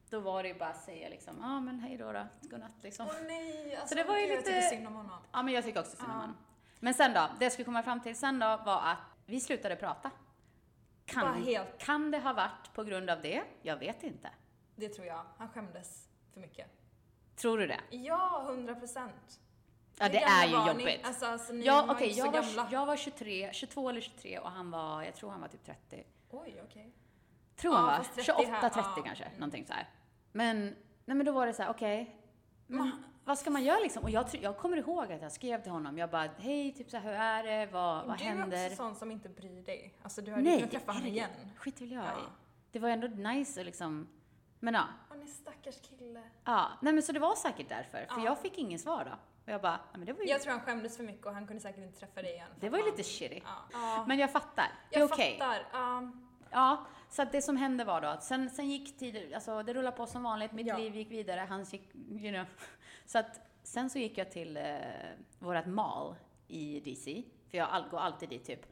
då var det ju bara att säga liksom, ja ah, men hej då då, godnatt liksom. Åh nej, alltså, det var ju gud, lite- jag tycker synd om honom. Ja men jag tycker också synd om Ja. honom. Men sen då, det jag skulle komma fram till sen då var att vi slutade prata. Bara Kan, helt. kan det ha varit på grund av det? Jag vet inte. Det tror jag. Han skämdes för mycket. Tror du det? Ja, 100 procent. Ja det är ju jobbigt. Alltså, alltså ni Ja, var okej, inte så jag, var, gamla. jag var 23, 22 eller 23 och han var, jag tror han var typ 30. Oj, okej. Tror Ja, han fast var 30 här, 28, 30 ja. kanske, Mm. någonting så här. Men, nej men då var det så här, okej, Mm. men vad ska man göra liksom? Och jag, tr- jag kommer ihåg att jag skrev till honom, jag bara, hej, typ så här, hur är det, vad, vad du är händer? också sån som inte bryr dig. Alltså du hade ju nej, kunnat träffa honom herregud, igen. skit vill jag Ja. i. Det var ändå nice och liksom, men ja. Åh nej, stackars kille. ja. Nej men så det var säkert därför, för Ja. jag fick ingen svar då. Och jag bara, nej men det var ju, Jag tror han skämdes för mycket och han kunde säkert inte träffa dig igen. det var ju lite shitty. Ja. Ja. Men jag fattar, det är Jag okej. fattar. Ja. Ja, så att det som hände var då att sen, sen gick tiden, alltså det rullade på som vanligt, mitt Ja. liv gick vidare, hans gick, you know. *laughs* Så att sen så gick jag till eh, vårat mall i DC, för jag all, går alltid dit typ.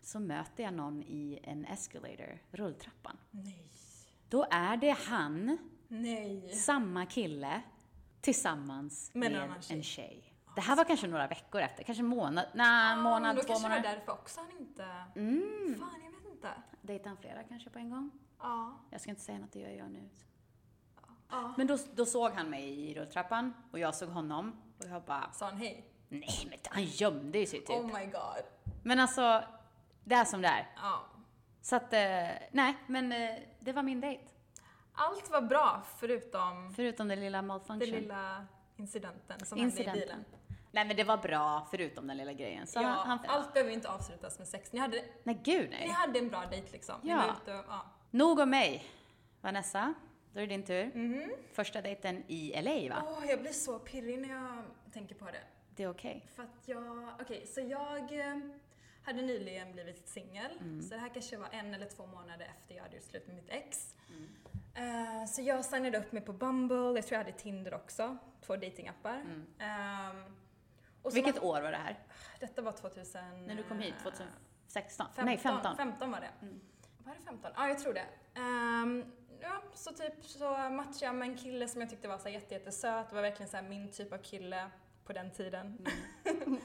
Så möter jag någon i en escalator, rulltrappan. Nej. Då är det han, Nej. samma kille, tillsammans Med en med annan tjej. en tjej. Det här var kanske några veckor efter, kanske en månad, nej, en Ah, men då månad, två kanske det var månader. därför också han inte... Mm. Fan, jag vet inte. Dejtade han flera kanske på en gång? Ja. Jag ska inte säga något, det gör jag nu. ja. Men då, då såg han mig i rulltrappan och jag såg honom och jag bara, Sa han hej? nej men han gömde ju sig typ. Oh my god. Men alltså, det är som det är. Ja. Så att, eh, nej men eh, det var min dejt. Allt var bra förutom Förutom den lilla den malfunction. lilla incidenten som hände i incidenten. bilen. Nej men det var bra, förutom den lilla grejen. Så ja, han, han, allt behöver ju inte avslutas med sex. Ni hade, Nej gud ni nej. hade en bra dejt liksom. Ni Ja. var ute och, ja. Nog om mig. Vanessa, då är det din tur. Mhm. Första dejten i LA va? Åh, jag blir så pirrig när jag tänker på det. Det är okej. För att jag, okej, så jag eh, hade nyligen blivit singel. Mm. Så det här kanske var en eller två månader efter jag hade gjort slut med mitt ex. Mm. Eh, så jag signade upp mig på Bumble, jag tror jag hade Tinder också. Två datingappar. Ehm, och så Mm. Vilket var, år var det här? Detta var 2000... När du kom hit? eh, 2016? nej 15. 15 var det. Var det 15? Ja, jag tror det. Ehm, ja, så typ så matchade jag med en kille som jag tyckte var så här jätte, jättesöt. Det var verkligen så här min typ av kille på den tiden. Mm.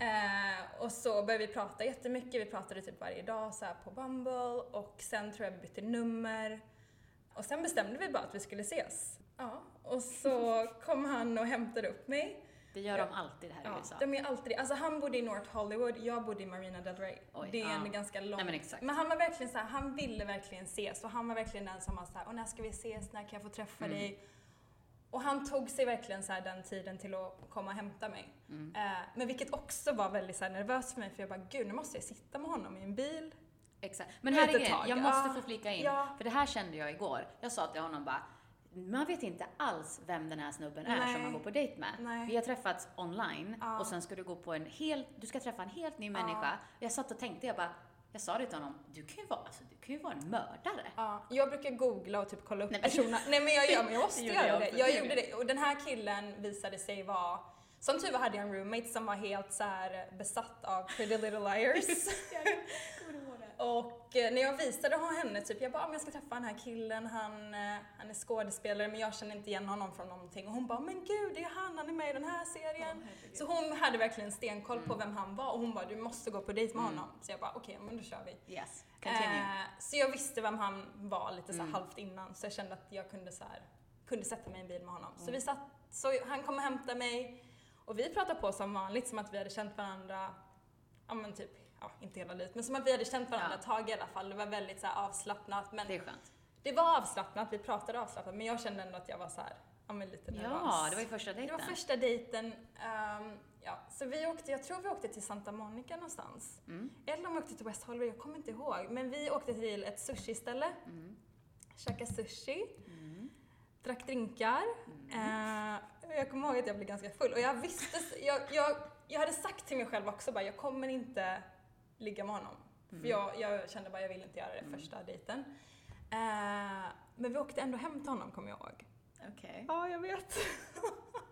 Eh, och så började vi prata jättemycket. Vi pratade typ varje dag så här på Bumble och sen tror jag vi bytte nummer. Och sen bestämde vi bara att vi skulle ses. Ja, och så kom han och hämtade upp mig. Det gör Ja. de alltid här i Ja, USA. de är alltid Alltså han bodde i North Hollywood, jag bodde i Marina Del Rey. Oj, det är ja. en ganska lång... Nej, men exakt. han var verkligen så här, han ville verkligen ses och han var verkligen den som var så här, "Åh, när ska vi ses, när kan jag få träffa Mm. dig? Och han tog sig verkligen så här den tiden till att komma och hämta mig. Mm. Eh, men vilket också var väldigt så här nervöst för mig för jag bara, gud nu måste jag sitta med honom i en bil. Exakt. Men Ett här är grejen, tag, jag måste ja. få flika in. Ja. För det här kände jag igår. Jag sa till honom bara, man vet inte alls vem den här snubben är Nej. som man går på dejt med. Nej. Vi har träffats online Ja. och sen ska du gå på en helt, du ska träffa en helt ny människa. Jag satt och tänkte, jag bara, jag sa det till honom, du kan ju vara, alltså, du kan ju vara en mördare. Ja, jag brukar googla och typ kolla upp Nej, Nej, men- personerna. Nej men jag gör men jag *laughs* måste Det gjorde jag göra också, det. det Jag gjorde gjorde det. Och den här killen visade sig vara som tur var hade jag en roommate som var helt så här eh, besatt av Pretty Little *laughs* Liars. och eh, när jag visade honom henne, typ, jag bara, "Ah, men jag ska träffa den här killen, han, eh, han är skådespelare men jag känner inte igen honom från någonting. Och hon bara, men gud det är han, han är med i den här serien. så hon hade verkligen stenkoll Mm. på vem han var och hon bara, du måste gå på dejt med honom. Så jag bara, okej men då kör vi. Yes, continue. Mm. Eh, så jag visste vem han var lite så här halvt innan så jag kände att jag kunde, så här, kunde sätta mig i en bil med honom. Mm. Så, vi satt, så han kom och hämtade mig och vi pratade på som vanligt som att vi hade känt varandra, ja men typ, ja inte hela livet, men som att vi hade känt varandra Ja. ett tag i alla fall. Det var väldigt så här avslappnat. Men Det är skönt. det var avslappnat, vi pratade avslappnat men jag kände ändå att jag var så här, ja men lite nervös. Ja, det var ju första Det dejten. var första dejten. ehm, ja. Så vi åkte, jag tror vi åkte till Santa Monica någonstans. Mm. Eller om vi åkte till West Hollywood, jag kommer inte ihåg. Men vi åkte till ett sushiställe, Mm. käkade sushi, Mm. drack drinkar. Eh, jag kommer ihåg att jag blev ganska full och jag visste, jag, jag, jag hade sagt till mig själv också bara, jag kommer inte ligga med honom. För jag, jag kände bara, jag vill inte göra det första dejten. Eh, men vi åkte ändå hem till honom kommer jag ihåg. Mm. Okej. Ja, jag vet.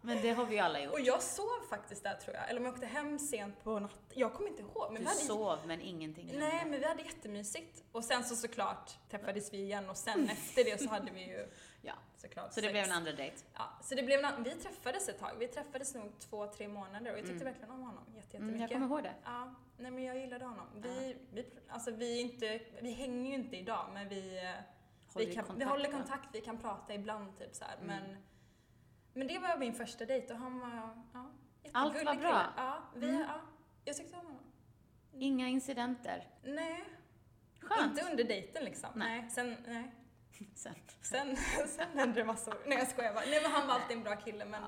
Men det har vi alla gjort. Och jag sov faktiskt där tror jag, eller om jag åkte hem sent på natten. Jag kommer inte ihåg. Men Du vi hade, sov, men ingenting Nej, hände. men vi hade jättemysigt. Och sen så såklart träffades vi igen och sen efter det så hade vi ju *laughs* Ja. såklart Så det blev en sex. andra dejt. Mm, Ja, så det blev en annan. Vi träffades ett tag. Vi träffades nog två, tre månader och jag tyckte Mm. verkligen om honom jätte- Mm, jag jättemycket. kommer ihåg det. Ja, nej men jag gillade honom. Vi, vi, alltså vi, är inte, vi hänger ju inte idag men vi, eh, vi, kan, vi håller va? kontakt, vi kan prata ibland typ så här. Mm. Men, men det var min första dejt och han var ja, Allt var jättegullig bra. kille. Ja, vi, Mm. ja, jag tyckte om honom. Inga incidenter. Nej, Skönt. inte under dejten liksom. Nej. Nej. sen, nej. Sen. Sen, *laughs* sen hände det massor. Nej jag skojar bara. Nej men han var alltid en bra kille men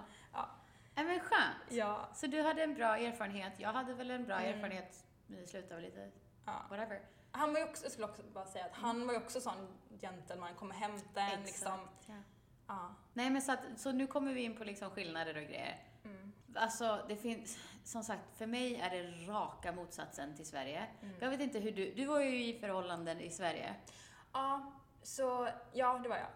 Nej, men skönt. ja, Så du hade en bra erfarenhet, jag hade väl en bra Mm. erfarenhet, men det slutade lite, ja. whatever. Han var ju också, jag skulle också bara säga att han var ju också sån gentleman, kom och hämta en liksom. Ja. Ja. Nej men så, att, så nu kommer vi in på liksom skillnader och grejer. Mm. Alltså det finns, som sagt, för mig är det raka motsatsen till Sverige. Mm. Jag vet inte hur du, du var ju i förhållanden i Sverige. ja, så ja det var jag.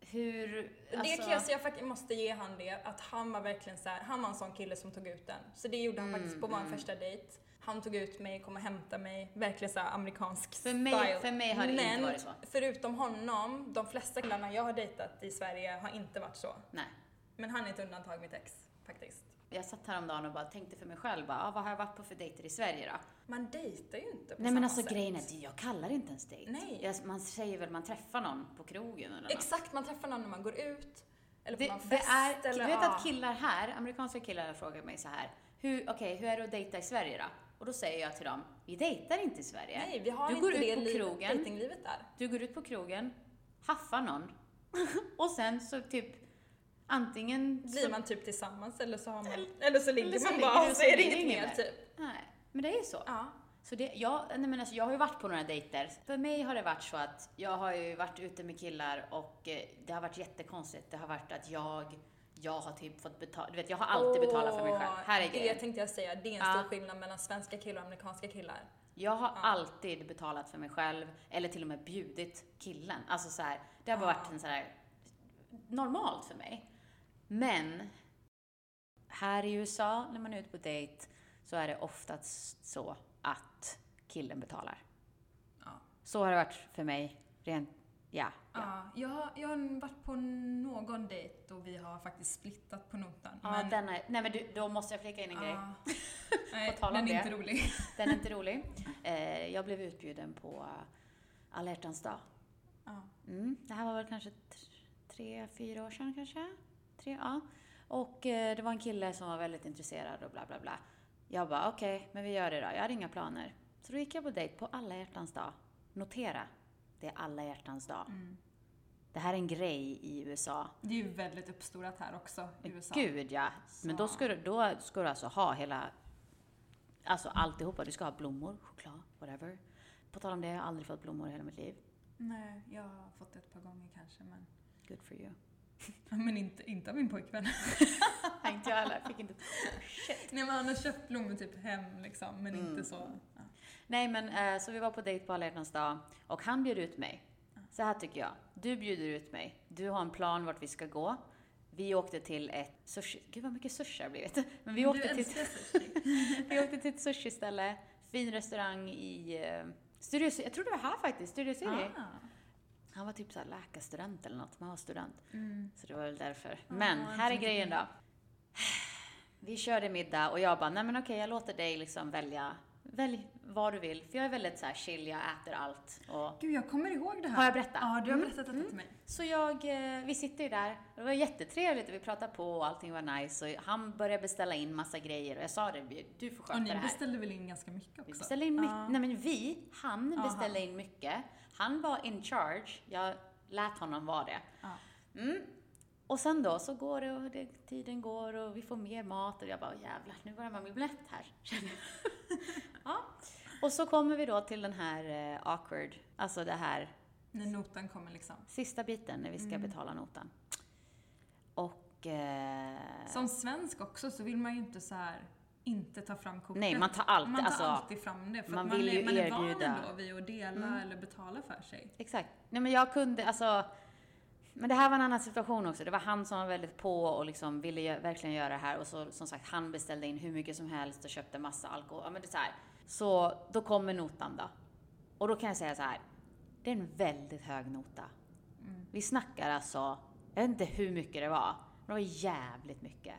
Hur, alltså, det kan jag säga, jag faktiskt måste ge han det, att han var verkligen så här, han var en sån kille som tog ut den. Så det gjorde han Mm, faktiskt på vår mm. första dejt. Han tog ut mig, kom och hämtade mig, verkligen så här amerikansk för mig, style. för mig har det Men inte varit så. förutom honom, de flesta killarna jag har dejtat i Sverige har inte varit så. Nej. Men han är ett undantag, mitt ex, faktiskt. Jag satt häromdagen och bara tänkte för mig själv, bara, ah, vad har jag varit på för dejter i Sverige då? Man dejtar ju inte på Nej men samma alltså sätt. grejen är, att jag kallar det inte ens dejt. Nej. Jag, man säger väl man träffar någon på krogen eller något. Exakt, man träffar någon när man går ut. Eller på Det, någon det fest. är, eller, du vet ja. att killar här, amerikanska killar har frågat mig så här, hur, okej, hur är det att dejta i Sverige då? Och då säger jag till dem, vi dejtar inte i Sverige. Nej, vi har Du inte går ut det på livet, krogen. dejtinglivet där. Du går ut på krogen, haffar någon *laughs* och sen så typ antingen Blir så, man typ tillsammans eller så, har man, eller så ligger eller så man ligger bara du och så så är det blir det inget inget mer mer. typ. Nej, men det är ju så. Ja. Så det, jag, nej men alltså, jag har ju varit på några dejter. För mig har det varit så att jag har ju varit ute med killar och eh, det har varit jättekonstigt. Det har varit att jag, jag har typ fått betala, du vet jag har alltid betalat för mig själv. Åh, Här är Det grejen. tänkte jag säga, det är en Ja. stor skillnad mellan svenska killar och amerikanska killar. Jag har Ja. alltid betalat för mig själv eller till och med bjudit killen. Alltså så här, det har bara Ja. varit en så här normalt för mig. Men här i USA, när man är ute på dejt, så är det oftast så att killen betalar. Ja. Så har det varit för mig. Rent, ja. ja. Ja, jag, har- jag har varit på någon dejt och vi har faktiskt splittat på notan. Ja, den är, nej men du, då måste jag flika in en grej. ja. *laughs* Nej, På tal om den är det. inte rolig. Den är inte rolig. Eh, jag blev utbjuden på alla hjärtans dag. Ja. Mm. Det här var väl kanske t- tre, fyra år sedan kanske? Tre, ja. Och eh, det var en kille som var väldigt intresserad och bla bla bla. Jag bara, okej, men vi gör det då. Jag hade inga planer. Så då gick jag på dejt på alla hjärtans dag. Notera, det är alla hjärtans dag. Det här är en grej i USA. Mm. Det är ju väldigt uppstorat här också, i USA. Gud ja! Men då ska, du, då ska du alltså ha hela, alltså alltihopa. Du ska ha blommor, choklad, whatever. På tal om det, jag har aldrig fått blommor i hela mitt liv. Nej, jag har fått det ett par gånger kanske, men... Good for you. Men inte, inte av min pojkvän. *laughs* Nej, inte jag heller. Fick inte. Nej, men han har köpt blommor typ hem liksom, Mm. men inte så... Ja. Nej men, eh, så vi var på dejt på alla hjärtans dag och han bjöd ut mig. Så här tycker jag. Du bjuder ut mig. Du har en plan vart vi ska gå. Vi åkte till ett sushi... Gud vad mycket sushi det har blivit. Men vi åkte du till... älskar *laughs* sushi. Vi åkte till ett sushiställe, fin restaurang i eh, Studio City. Jag tror det var här faktiskt, Studio City. Ah. Han var typ såhär läkarstudent eller något, men han var student. Mm. Så det var väl därför. Ja, men jag här är tänkte grejen det. då. Vi körde middag och jag bara, nej men okej jag låter dig liksom välja, välj vad du vill. För jag är väldigt såhär chill, jag äter allt. Och... Gud, jag kommer ihåg det här. Har jag berättat? Ja, du har Mm. berättat detta till mig. Så jag, eh, vi sitter ju där och det var jättetrevligt och vi pratade på och allting var nice och han började beställa in massa grejer och jag sa det, du får sköta Och det ni här. beställde väl in ganska mycket också? Vi beställde in mycket. Ja. Nej men vi, han Aha. beställde in mycket. Han var in charge. Jag lät honom vara det. Ja. Mm. Och sen då så går det och det, tiden går och vi får mer mat och jag bara jävlar, nu börjar man bli blött här. *laughs* känner jag. ja. Och så kommer vi då till den här eh, awkward, alltså det här När notan kommer liksom. sista biten när vi Mm. ska betala notan. Och... Eh, Som svensk också så vill man ju inte så här inte ta fram kortet. nej, man tar allt. Man tar alltså, alltid fram det för man man, man, vill ju är, man är van erbjuda. Mm. ändå vid att dela eller betala för sig. Exakt. Nej men jag kunde, alltså. Men det här var en annan situation också. Det var han som var väldigt på och liksom ville gö- verkligen göra det här. Och så som sagt, han beställde in hur mycket som helst och köpte massa alkohol. Ja men det är så här. Så då kommer notan då. Och då kan jag säga så här. Det är en väldigt hög nota. Mm. Vi snackar alltså, jag vet inte hur mycket det var. Men det var jävligt mycket.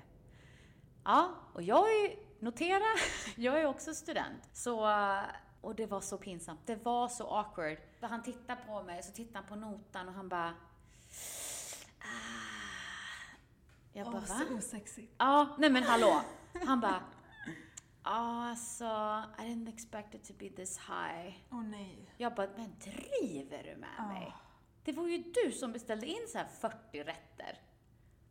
Ja, och jag är ju, notera, *laughs* jag är också student. Så, och det var så pinsamt. Det var så awkward. För han tittar på mig, så tittar han på notan och han bara... "Ah." Jag bara, Åh, va? så osexigt. Ja, nej men hallå. Han bara, *laughs* ja alltså, I didn't expect it to be this high. Åh nej. Jag bara, men driver du med Ja. mig? Det var ju du som beställde in så här 40 rätter.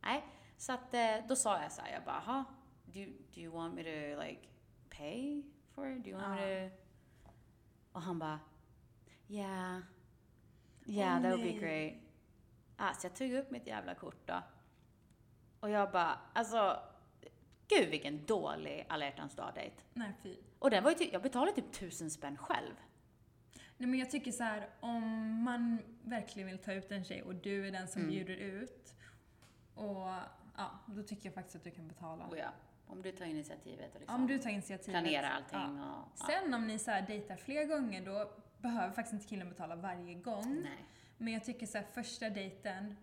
Nej, så att eh, då sa jag så här, jag bara, aha, do, you- do you want me to like pay for it? Do you want Ah. me to... Och han bara, yeah, yeah Åh, that would nej. be great. Ah, så jag tog upp mitt jävla kort då. Och jag bara, alltså, gud vilken dålig alla hjärtans dag-dejt. Nej fy. Och den var ju typ, jag betalade typ tusen spänn själv. Nej men jag tycker så här, om man verkligen vill ta ut en tjej och du är den Mm. som bjuder ut och ja, då tycker jag faktiskt att du kan betala. Oh ja. Om du tar initiativet och liksom Om du tar initiativet. planerar ja. allting och... Ja. Sen om ni så här dejtar fler gånger då behöver faktiskt inte killen betala varje gång. Nej. Men jag tycker så här, första dejten,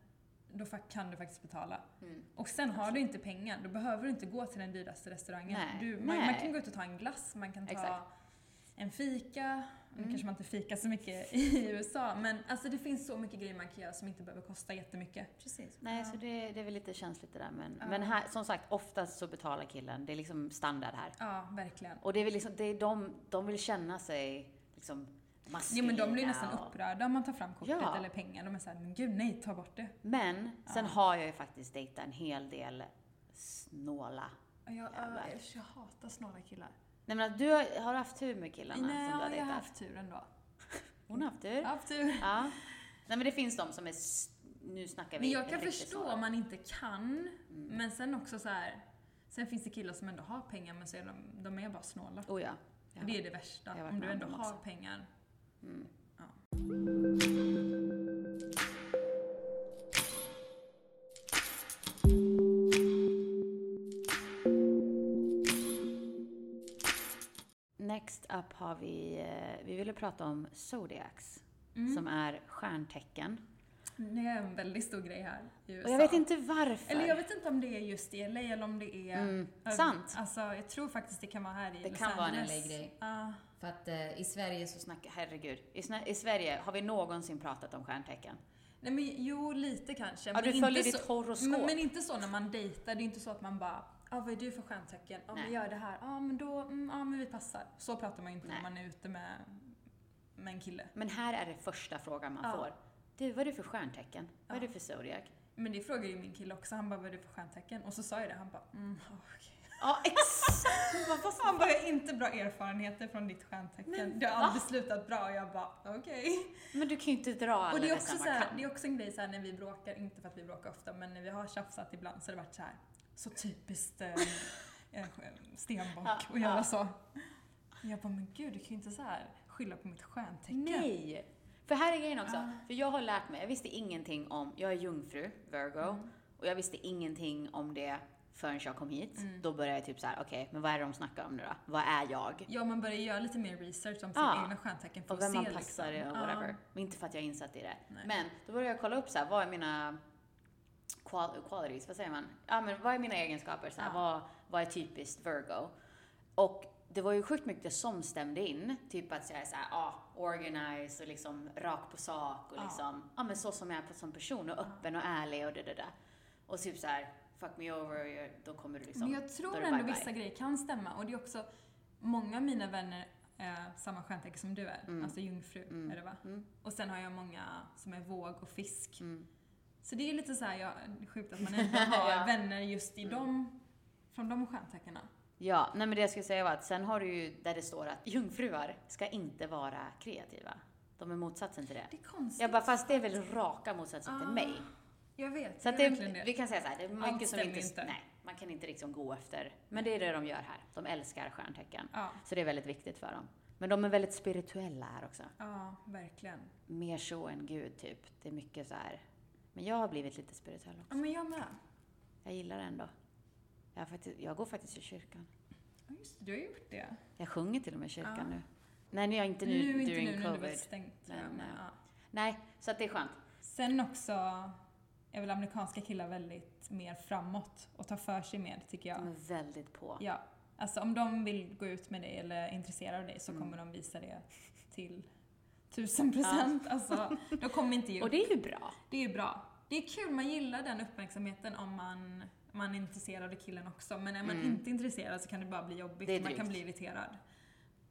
då fa- kan du faktiskt betala. Mm. Och sen har du inte pengar, då behöver du inte gå till den dyraste restaurangen. Nej, Du, man, man nej. kan gå ut och ta en glass, man kan ta Exakt. Mm. en fika. Nu kanske man inte fikar så mycket *laughs* i USA, men alltså det finns så mycket grejer man kan göra som inte behöver kosta jättemycket. Precis. Nej, så det, det är väl lite känsligt det där. Men, Ja. men här, som sagt, oftast så betalar killen. Det är liksom standard här. Ja, verkligen. Och det är väl liksom, det är de, de vill känna sig liksom Ja, maskulina. men de blir ju nästan och- upprörda om man tar fram kortet Ja. eller pengar. De är såhär, men gud nej, ta bort det. Men sen har jag ju faktiskt dejtat en hel del snåla. Jag, Jävlar. jag, jag hatar snåla killar. Nej men att du har, har haft tur med killarna Nej, som du har jag dejtat? har haft tur ändå. Hon har haft tur. Jag har haft tur. Ja. Nej men det finns de som är, s- nu snackar vi Men jag ett kan riktigt Mm. förstå sådant. om man inte kan, men sen också så här. Sen finns det killar som ändå har pengar men så är de, de är bara snåla. Oh ja. Ja. Det är det Jag har värsta, varit om du med ändå om dem har också. pengar. Ja. Next up har vi, eh, vi ville prata om zodiacs. Mm. Som är stjärntecken. Det är en väldigt stor grej här i USA. Och jag vet inte varför. eller jag vet inte om det är just i LA eller om det är... Mm, över- sant. Alltså jag tror faktiskt det kan vara här i Det Los kan vara en Angeles. LA-grej. Ja. För att i Sverige så snackar, herregud. I, Sna- I Sverige, har vi någonsin pratat om stjärntecken? Nej men jo, lite kanske. Ja, men du inte följer så- ditt horoskop. Men, men inte så när man dejtar, det är inte så att man bara ah, vad är du för stjärntecken? Ja ah, men Nej. jag är det här. Ja ah, men då, mm, ah, men vi passar. Så pratar man ju inte Nej. när man är ute med, med en kille. Men här är det första frågan man Ja. får. Du, vad är du för stjärntecken? Vad är Ja. du för zodiac? Men det frågade ju min kille också, han bara vad är du för stjärntecken? Och så sa jag det, han bara mm, ah, okej. Ja, exakt! Vad fast- Han bara jag har inte bra erfarenheter från ditt stjärntecken. Men det har va? aldrig slutat bra. Och jag bara okej. Men du kan ju inte dra alla Och det är, över också samma så här, kam. det är också en grej så här, när vi bråkar, inte för att vi bråkar ofta, men när vi har tjafsat ibland så har det varit så här. så *laughs* typiskt eh, eh, stenbock Ja, att göra ja. så. Jag bara, men gud, du kan ju inte så här skylla på mitt stjärntecken. Nej! För här är grejen också. Ah. För jag har lärt mig, jag visste ingenting om, jag är jungfru, Virgo, Mm. och jag visste ingenting om det förrän jag kom hit. Då började jag typ så här: okej, men vad är det de snackar om nu då? Vad är jag? Ja, man börjar göra lite mer research om sina Ja. egna stjärntecken för Och att se vem man liksom. passar och Ja. whatever. Men inte för att jag är insatt i det. Nej. Men då började jag kolla upp så här, vad är mina qual- qualities, vad säger man? Ja men vad är mina egenskaper? Så här, Ja. vad, vad är typiskt Virgo? Och det var ju sjukt mycket som stämde in. Typ att jag är såhär, ah, organized och liksom rakt på sak och Ja. liksom, ja men så som jag är på- som person och öppen och ärlig och det där. där. Och typ så här, fuck me over, och jag- då kommer du liksom, Men jag då tror är det ändå bye-bye. vissa grejer kan stämma och det är också många av mina vänner är samma stjärntecken som du är, Mm. alltså jungfru Mm. är det va? Mm. Och sen har jag många som är våg och fisk. Mm. Så det är lite så här, ja, *laughs* sjukt att man ändå har Ja. vänner just i dem, från de stjärntecknen. Ja, nej men det jag skulle säga var att sen har du ju där det står att jungfruar ska inte vara kreativa. De är motsatsen till det. Det är konstigt. Jag bara, fast det är väl raka motsatsen till Ah, mig? Jag vet, Så att det det, är verkligen vi det. kan säga så här, det är Allt mycket som stämmer inte, inte. Nej, man kan inte liksom gå efter. Men det är det de gör här. De älskar stjärntecken. Ja, Så det är väldigt viktigt för dem. Men de är väldigt spirituella här också. ja, verkligen. Mer så än Gud, typ. Det är mycket så här. Men jag har blivit lite spirituell Ja, också. men jag med. Jag gillar det ändå. Jag, har faktiskt, jag går faktiskt i kyrkan. Ja, just det, du har gjort det. Jag sjunger till och med i kyrkan Ja. nu. Nej, nu är jag inte nu, nu inte during nu när det covid. var stängt tror Nej, jag. Men, nej. ja. Nej, så att det är skönt. Sen också är väl amerikanska killar väldigt mer framåt och tar för sig mer tycker jag. De är väldigt på. Ja. Alltså om de vill gå ut med dig eller är intresserade av dig så Mm. kommer de visa det till tusen procent. Alltså, de kommer inte *laughs* ge Och upp. det är ju bra. Det är ju bra. Det är kul, man gillar den uppmärksamheten om man, man är intresserad av killen också. Men är man inte intresserad så kan det bara bli jobbigt. Mm. Det är man kan drygt. bli irriterad.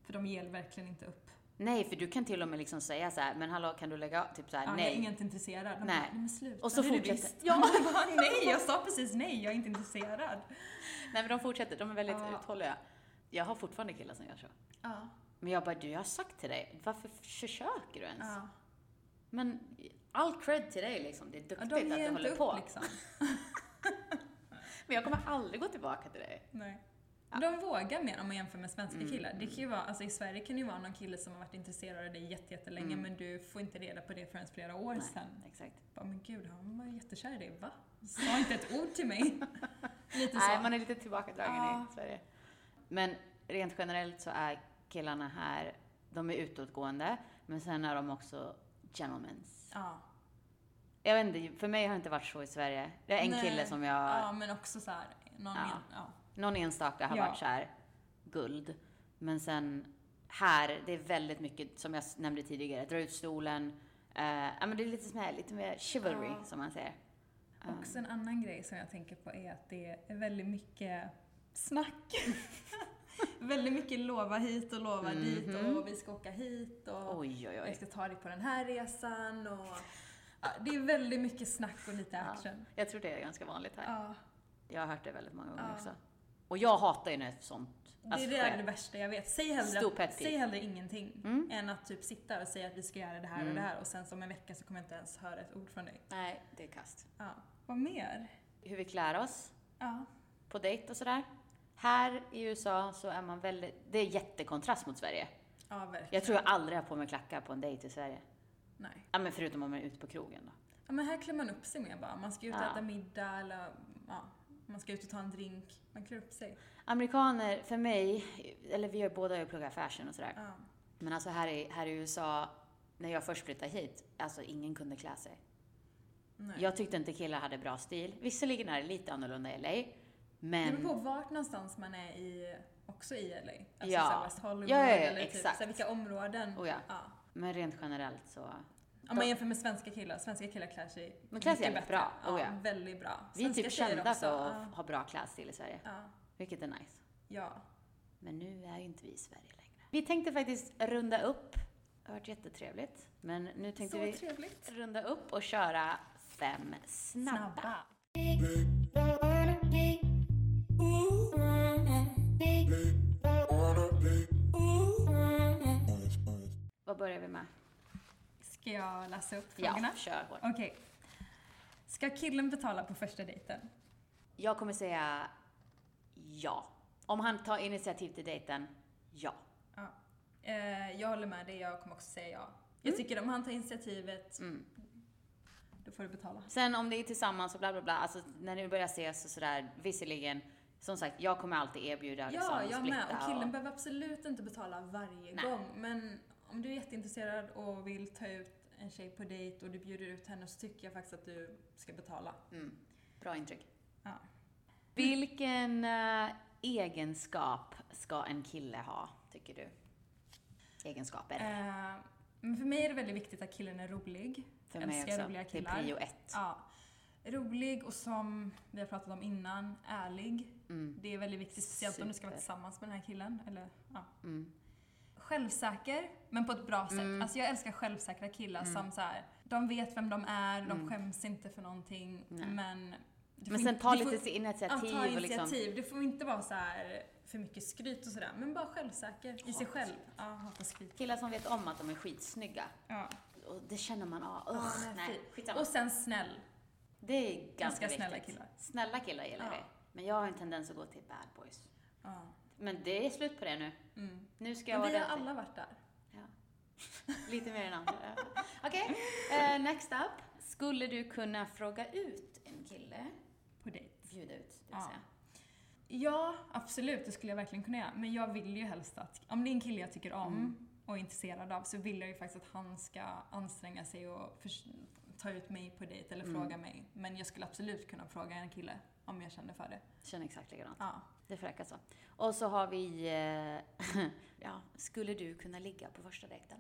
För de ger verkligen inte upp. Nej, för du kan till och med liksom säga så här, men hallå kan du lägga av? Typ så här, Ja, Jag är nej. inte intresserad. De Nej. bara, men sluta. Och så det är du fortsätter- visst." Ja, *laughs* man bara, nej, jag sa precis nej, jag är inte intresserad. Nej men de fortsätter, de är väldigt Ja. uthålliga. Jag har fortfarande killar som gör så. Ja, Men jag bara, du jag har sagt till dig, varför försöker du ens? ja. Men all cred till dig liksom, det är ja duktigt de att ger du inte håller upp på. liksom. Men jag kommer aldrig gå tillbaka till dig. Nej. *laughs* Ja. De vågar mer om man jämför med svenska Mm, killar. Det kan ju vara, alltså I Sverige kan det ju vara någon kille som har varit intresserad av dig jätte- jättelänge Mm. men du får inte reda på det förrän flera år Nej, sen. exakt. Bara, men gud, han var jättekär i dig, va? Sa inte ett ord till mig. Lite Nej, så. man är *laughs* lite tillbakadragen Ja. i Sverige. Men rent generellt så är killarna här, de är utåtgående, men sen är de också gentlemans. Ja. Jag vet inte, för mig har det inte varit så i Sverige. Det är en Nej. kille som jag, ja, men också så här, någon Ja. en, ja. någon enstaka har Ja. varit så här guld. Men sen här, det är väldigt mycket, som jag s- nämnde tidigare, dra ut stolen. Eh, ja, men det är lite, som här, lite mer chivalry, Ja. som man säger. Um, Också en annan grej som jag tänker på är att det är väldigt mycket snack. *laughs* väldigt mycket lova hit och lova dit och vi ska åka hit och Mhm. oj, oj, jag oj. ska ta dig på den här resan och ja, det är väldigt mycket snack och lite action. Jag tror det är ganska vanligt här. Ja. Jag har hört det väldigt många gånger Ja. också. Och jag hatar ju när sånt alltså, Det är det, sker. är det värsta jag vet. Säg Stor hellre, pet att, peeve. säg hellre ingenting Mm. än att typ sitta och säga att vi ska göra det här och det här och sen som en vecka så kommer jag inte ens höra ett ord från dig. Nej, det är kast. Ja. Vad mer? Hur vi klär oss Ja. på dejt och sådär. Här i USA så är man väldigt, det är jättekontrast mot Sverige. Ja, verkligen. Jag tror jag aldrig har på mig klackar på en dejt i Sverige. Nej. Ja, men förutom om man är ute på krogen då. Ja, men här klär man upp sig mer bara. Man ska ut och Ja. äta middag eller ja, man ska ut och ta en drink. Man klär upp sig. Amerikaner, för mig, eller vi har båda ju pluggat fashion och sådär. Ja. Men alltså här i, här i USA, när jag först flyttade hit, alltså ingen kunde klä sig. Nej. Jag tyckte inte killar hade bra stil. Visserligen är det lite annorlunda i LA, Det men... beror på vart någonstans man är i, också i LA. Alltså Ja. ja. West Hollywood Ja, ja, ja, eller typ exakt. så här, vilka områden. Oh ja. Ja. Men rent generellt så... Om man jämför med svenska killar, svenska killar klär sig Men klär sig mycket jävligt bra, Ja, oh ja. Väldigt bra. Vi är Svenska typ tjejer kända också, för att ja. ha bra klädstil i Sverige, Ja, vilket är nice. ja. Men nu är ju inte vi i Sverige längre. Vi tänkte faktiskt runda upp. Det har varit jättetrevligt. Men nu tänkte Så vi trevligt. runda upp och köra fem snabba. Snabba. Vad börjar vi med? Ska jag läsa upp frågorna? Ja, kör hårt. Okej. Ska killen betala på första dejten? Jag kommer säga ja. Om han tar initiativ till dejten, ja. Ja. Eh, jag håller med dig, jag kommer också säga ja. Jag tycker om han tar initiativet, då får du betala. Mm. Sen om det är tillsammans och bla bla bla, alltså när ni börjar ses och sådär, visserligen, som sagt, jag kommer alltid erbjuda Ja, liksom, jag med. splitta Och killen behöver absolut inte betala varje Nej. gång. Men om du är jätteintresserad och vill ta ut en tjej på dejt och du bjuder ut henne så tycker jag faktiskt att du ska betala. mm, Bra intryck. Ja. Vilken eh, egenskap ska en kille ha, tycker du? Egenskaper. Eh, men för mig är det väldigt viktigt att killen är rolig. För mig älskar också. roliga Det är killar. prio ett. Ja. Rolig och som vi har pratat om innan, ärlig. Mm, Det är väldigt viktigt, speciellt om du ska vara Super. tillsammans med den här killen. Eller, ja. mm. Självsäker, men på ett bra sätt. Mm. Alltså jag älskar självsäkra killar som så här, de vet vem de är, de Mm. skäms inte för någonting, Nej. men... du Men får sen inte- ta du får- lite initiativ, Ja, ta och liksom... initiativ. Det får inte vara så här för mycket skryt och sådär, men bara självsäker i sig Hat. själv. Ja, hata skryt. Killar som vet om att de är skitsnygga. Ja. Och det känner man av. Ja, Ugh, men nej, fy. skitsamma. Och sen snäll. det är ganska, ganska viktigt. snälla killar. Snälla killar gillar Ja. det. Men jag har en tendens att gå till bad boys. Ja. Men det är slut på det nu. Mm. Nu ska jag Men vi vara har ordentlig. alla varit där. Lite mer än andra. ja. Okej, eh, next up. Skulle du kunna fråga ut en kille? På dejt. Bjuda ut, det vill Ja. säga. Ja, absolut. Det skulle jag verkligen kunna göra. Men jag vill ju helst att, om det är en kille jag tycker om Mm. och är intresserad av så vill jag ju faktiskt att han ska anstränga sig och förs- ta ut mig på dejt eller Mm. fråga mig. Men jag skulle absolut kunna fråga en kille om jag känner för det. Känner exakt likadant. Ja. Det får räcka så. Och så har vi... Eh, *laughs* ja, skulle du kunna ligga på första dejten?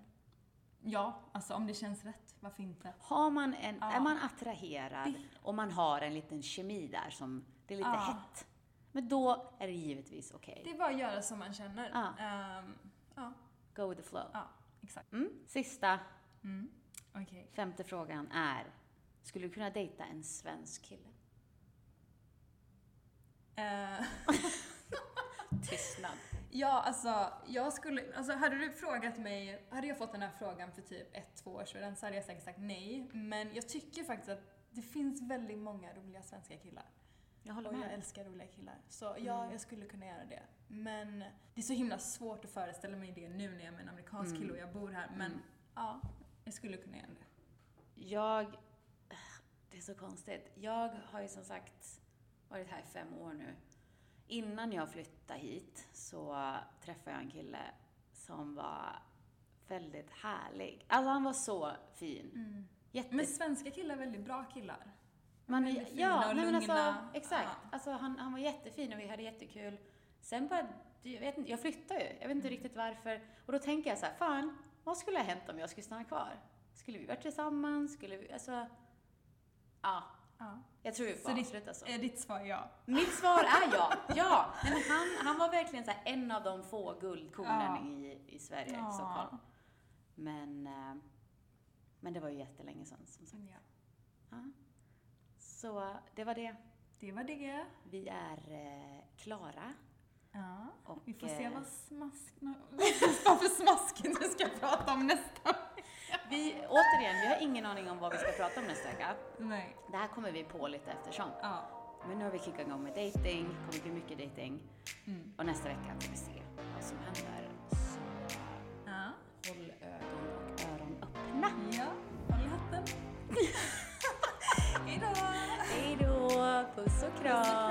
ja, alltså om det känns rätt, varför inte? Har man en, Ja. Är man attraherad och man har en liten kemi där som... Det är lite Ja. hett. Men då är det givetvis okej. Det är bara att göra som man känner. Ja. Ehm, ja, Go with the flow. ja, exakt. Mm. Sista, Mm. Okej. femte frågan är. Skulle du kunna dejta en svensk kille? Eh, *laughs* *laughs* Tystnad. Ja, alltså, jag skulle, alltså hade du frågat mig, hade jag fått den här frågan för typ ett, två år sedan så hade jag säkert sagt nej. Men jag tycker faktiskt att det finns väldigt många roliga svenska killar. Jag håller Och jag med. Mm. älskar roliga killar. Så ja, jag skulle kunna göra det. Men det är så himla svårt att föreställa mig det nu när jag är en amerikansk Mm. kille och jag bor här. Men Mm. ja, jag skulle kunna göra det. Jag... Det är så konstigt. Jag har ju som sagt varit här i fem år nu. Innan jag flyttade hit så träffade jag en kille som var väldigt härlig. Alltså han var så fin. Men Jättes... svenska killar är väldigt bra killar. Man, väldigt fina ja, och nej men alltså, lugna. exakt. Ja. Alltså han, han var jättefin och vi hade jättekul. Sen bara, jag vet inte, jag flyttade ju. Jag vet inte riktigt varför. Och då tänker jag så här, fan, vad skulle ha hänt om jag skulle stanna kvar? Skulle vi varit tillsammans? Skulle vi, alltså... Ja, Ja. jag tror vi Så får det- avsluta så. Eh, Ditt svar är ja. Mitt svar är ja. *laughs* Ja! Nej, men han, han var verkligen så här en av de få guldkornen Ja. i, i Sverige, i Ja. Stockholm. Men, eh, men det var ju jättelänge sedan, som sagt. ja. Ja. Så eh, det var det. Det var det. Vi är eh, klara. Ja. Och, Vi får se eh, vad smask... *laughs* vad för smaskigt vi ska prata om nästa vi, återigen, vi har ingen aning om vad vi ska prata om nästa vecka. Nej. Det här kommer vi på lite eftersom. Ja. Men nu har vi kickat igång med dating, det kommer bli mycket dating. Mm. Och nästa vecka får vi se vad som händer. Så Ja. håll ögon och öron öppna. Ja. Håll i hatten. *laughs* Hejdå! Hej då! Puss och kram!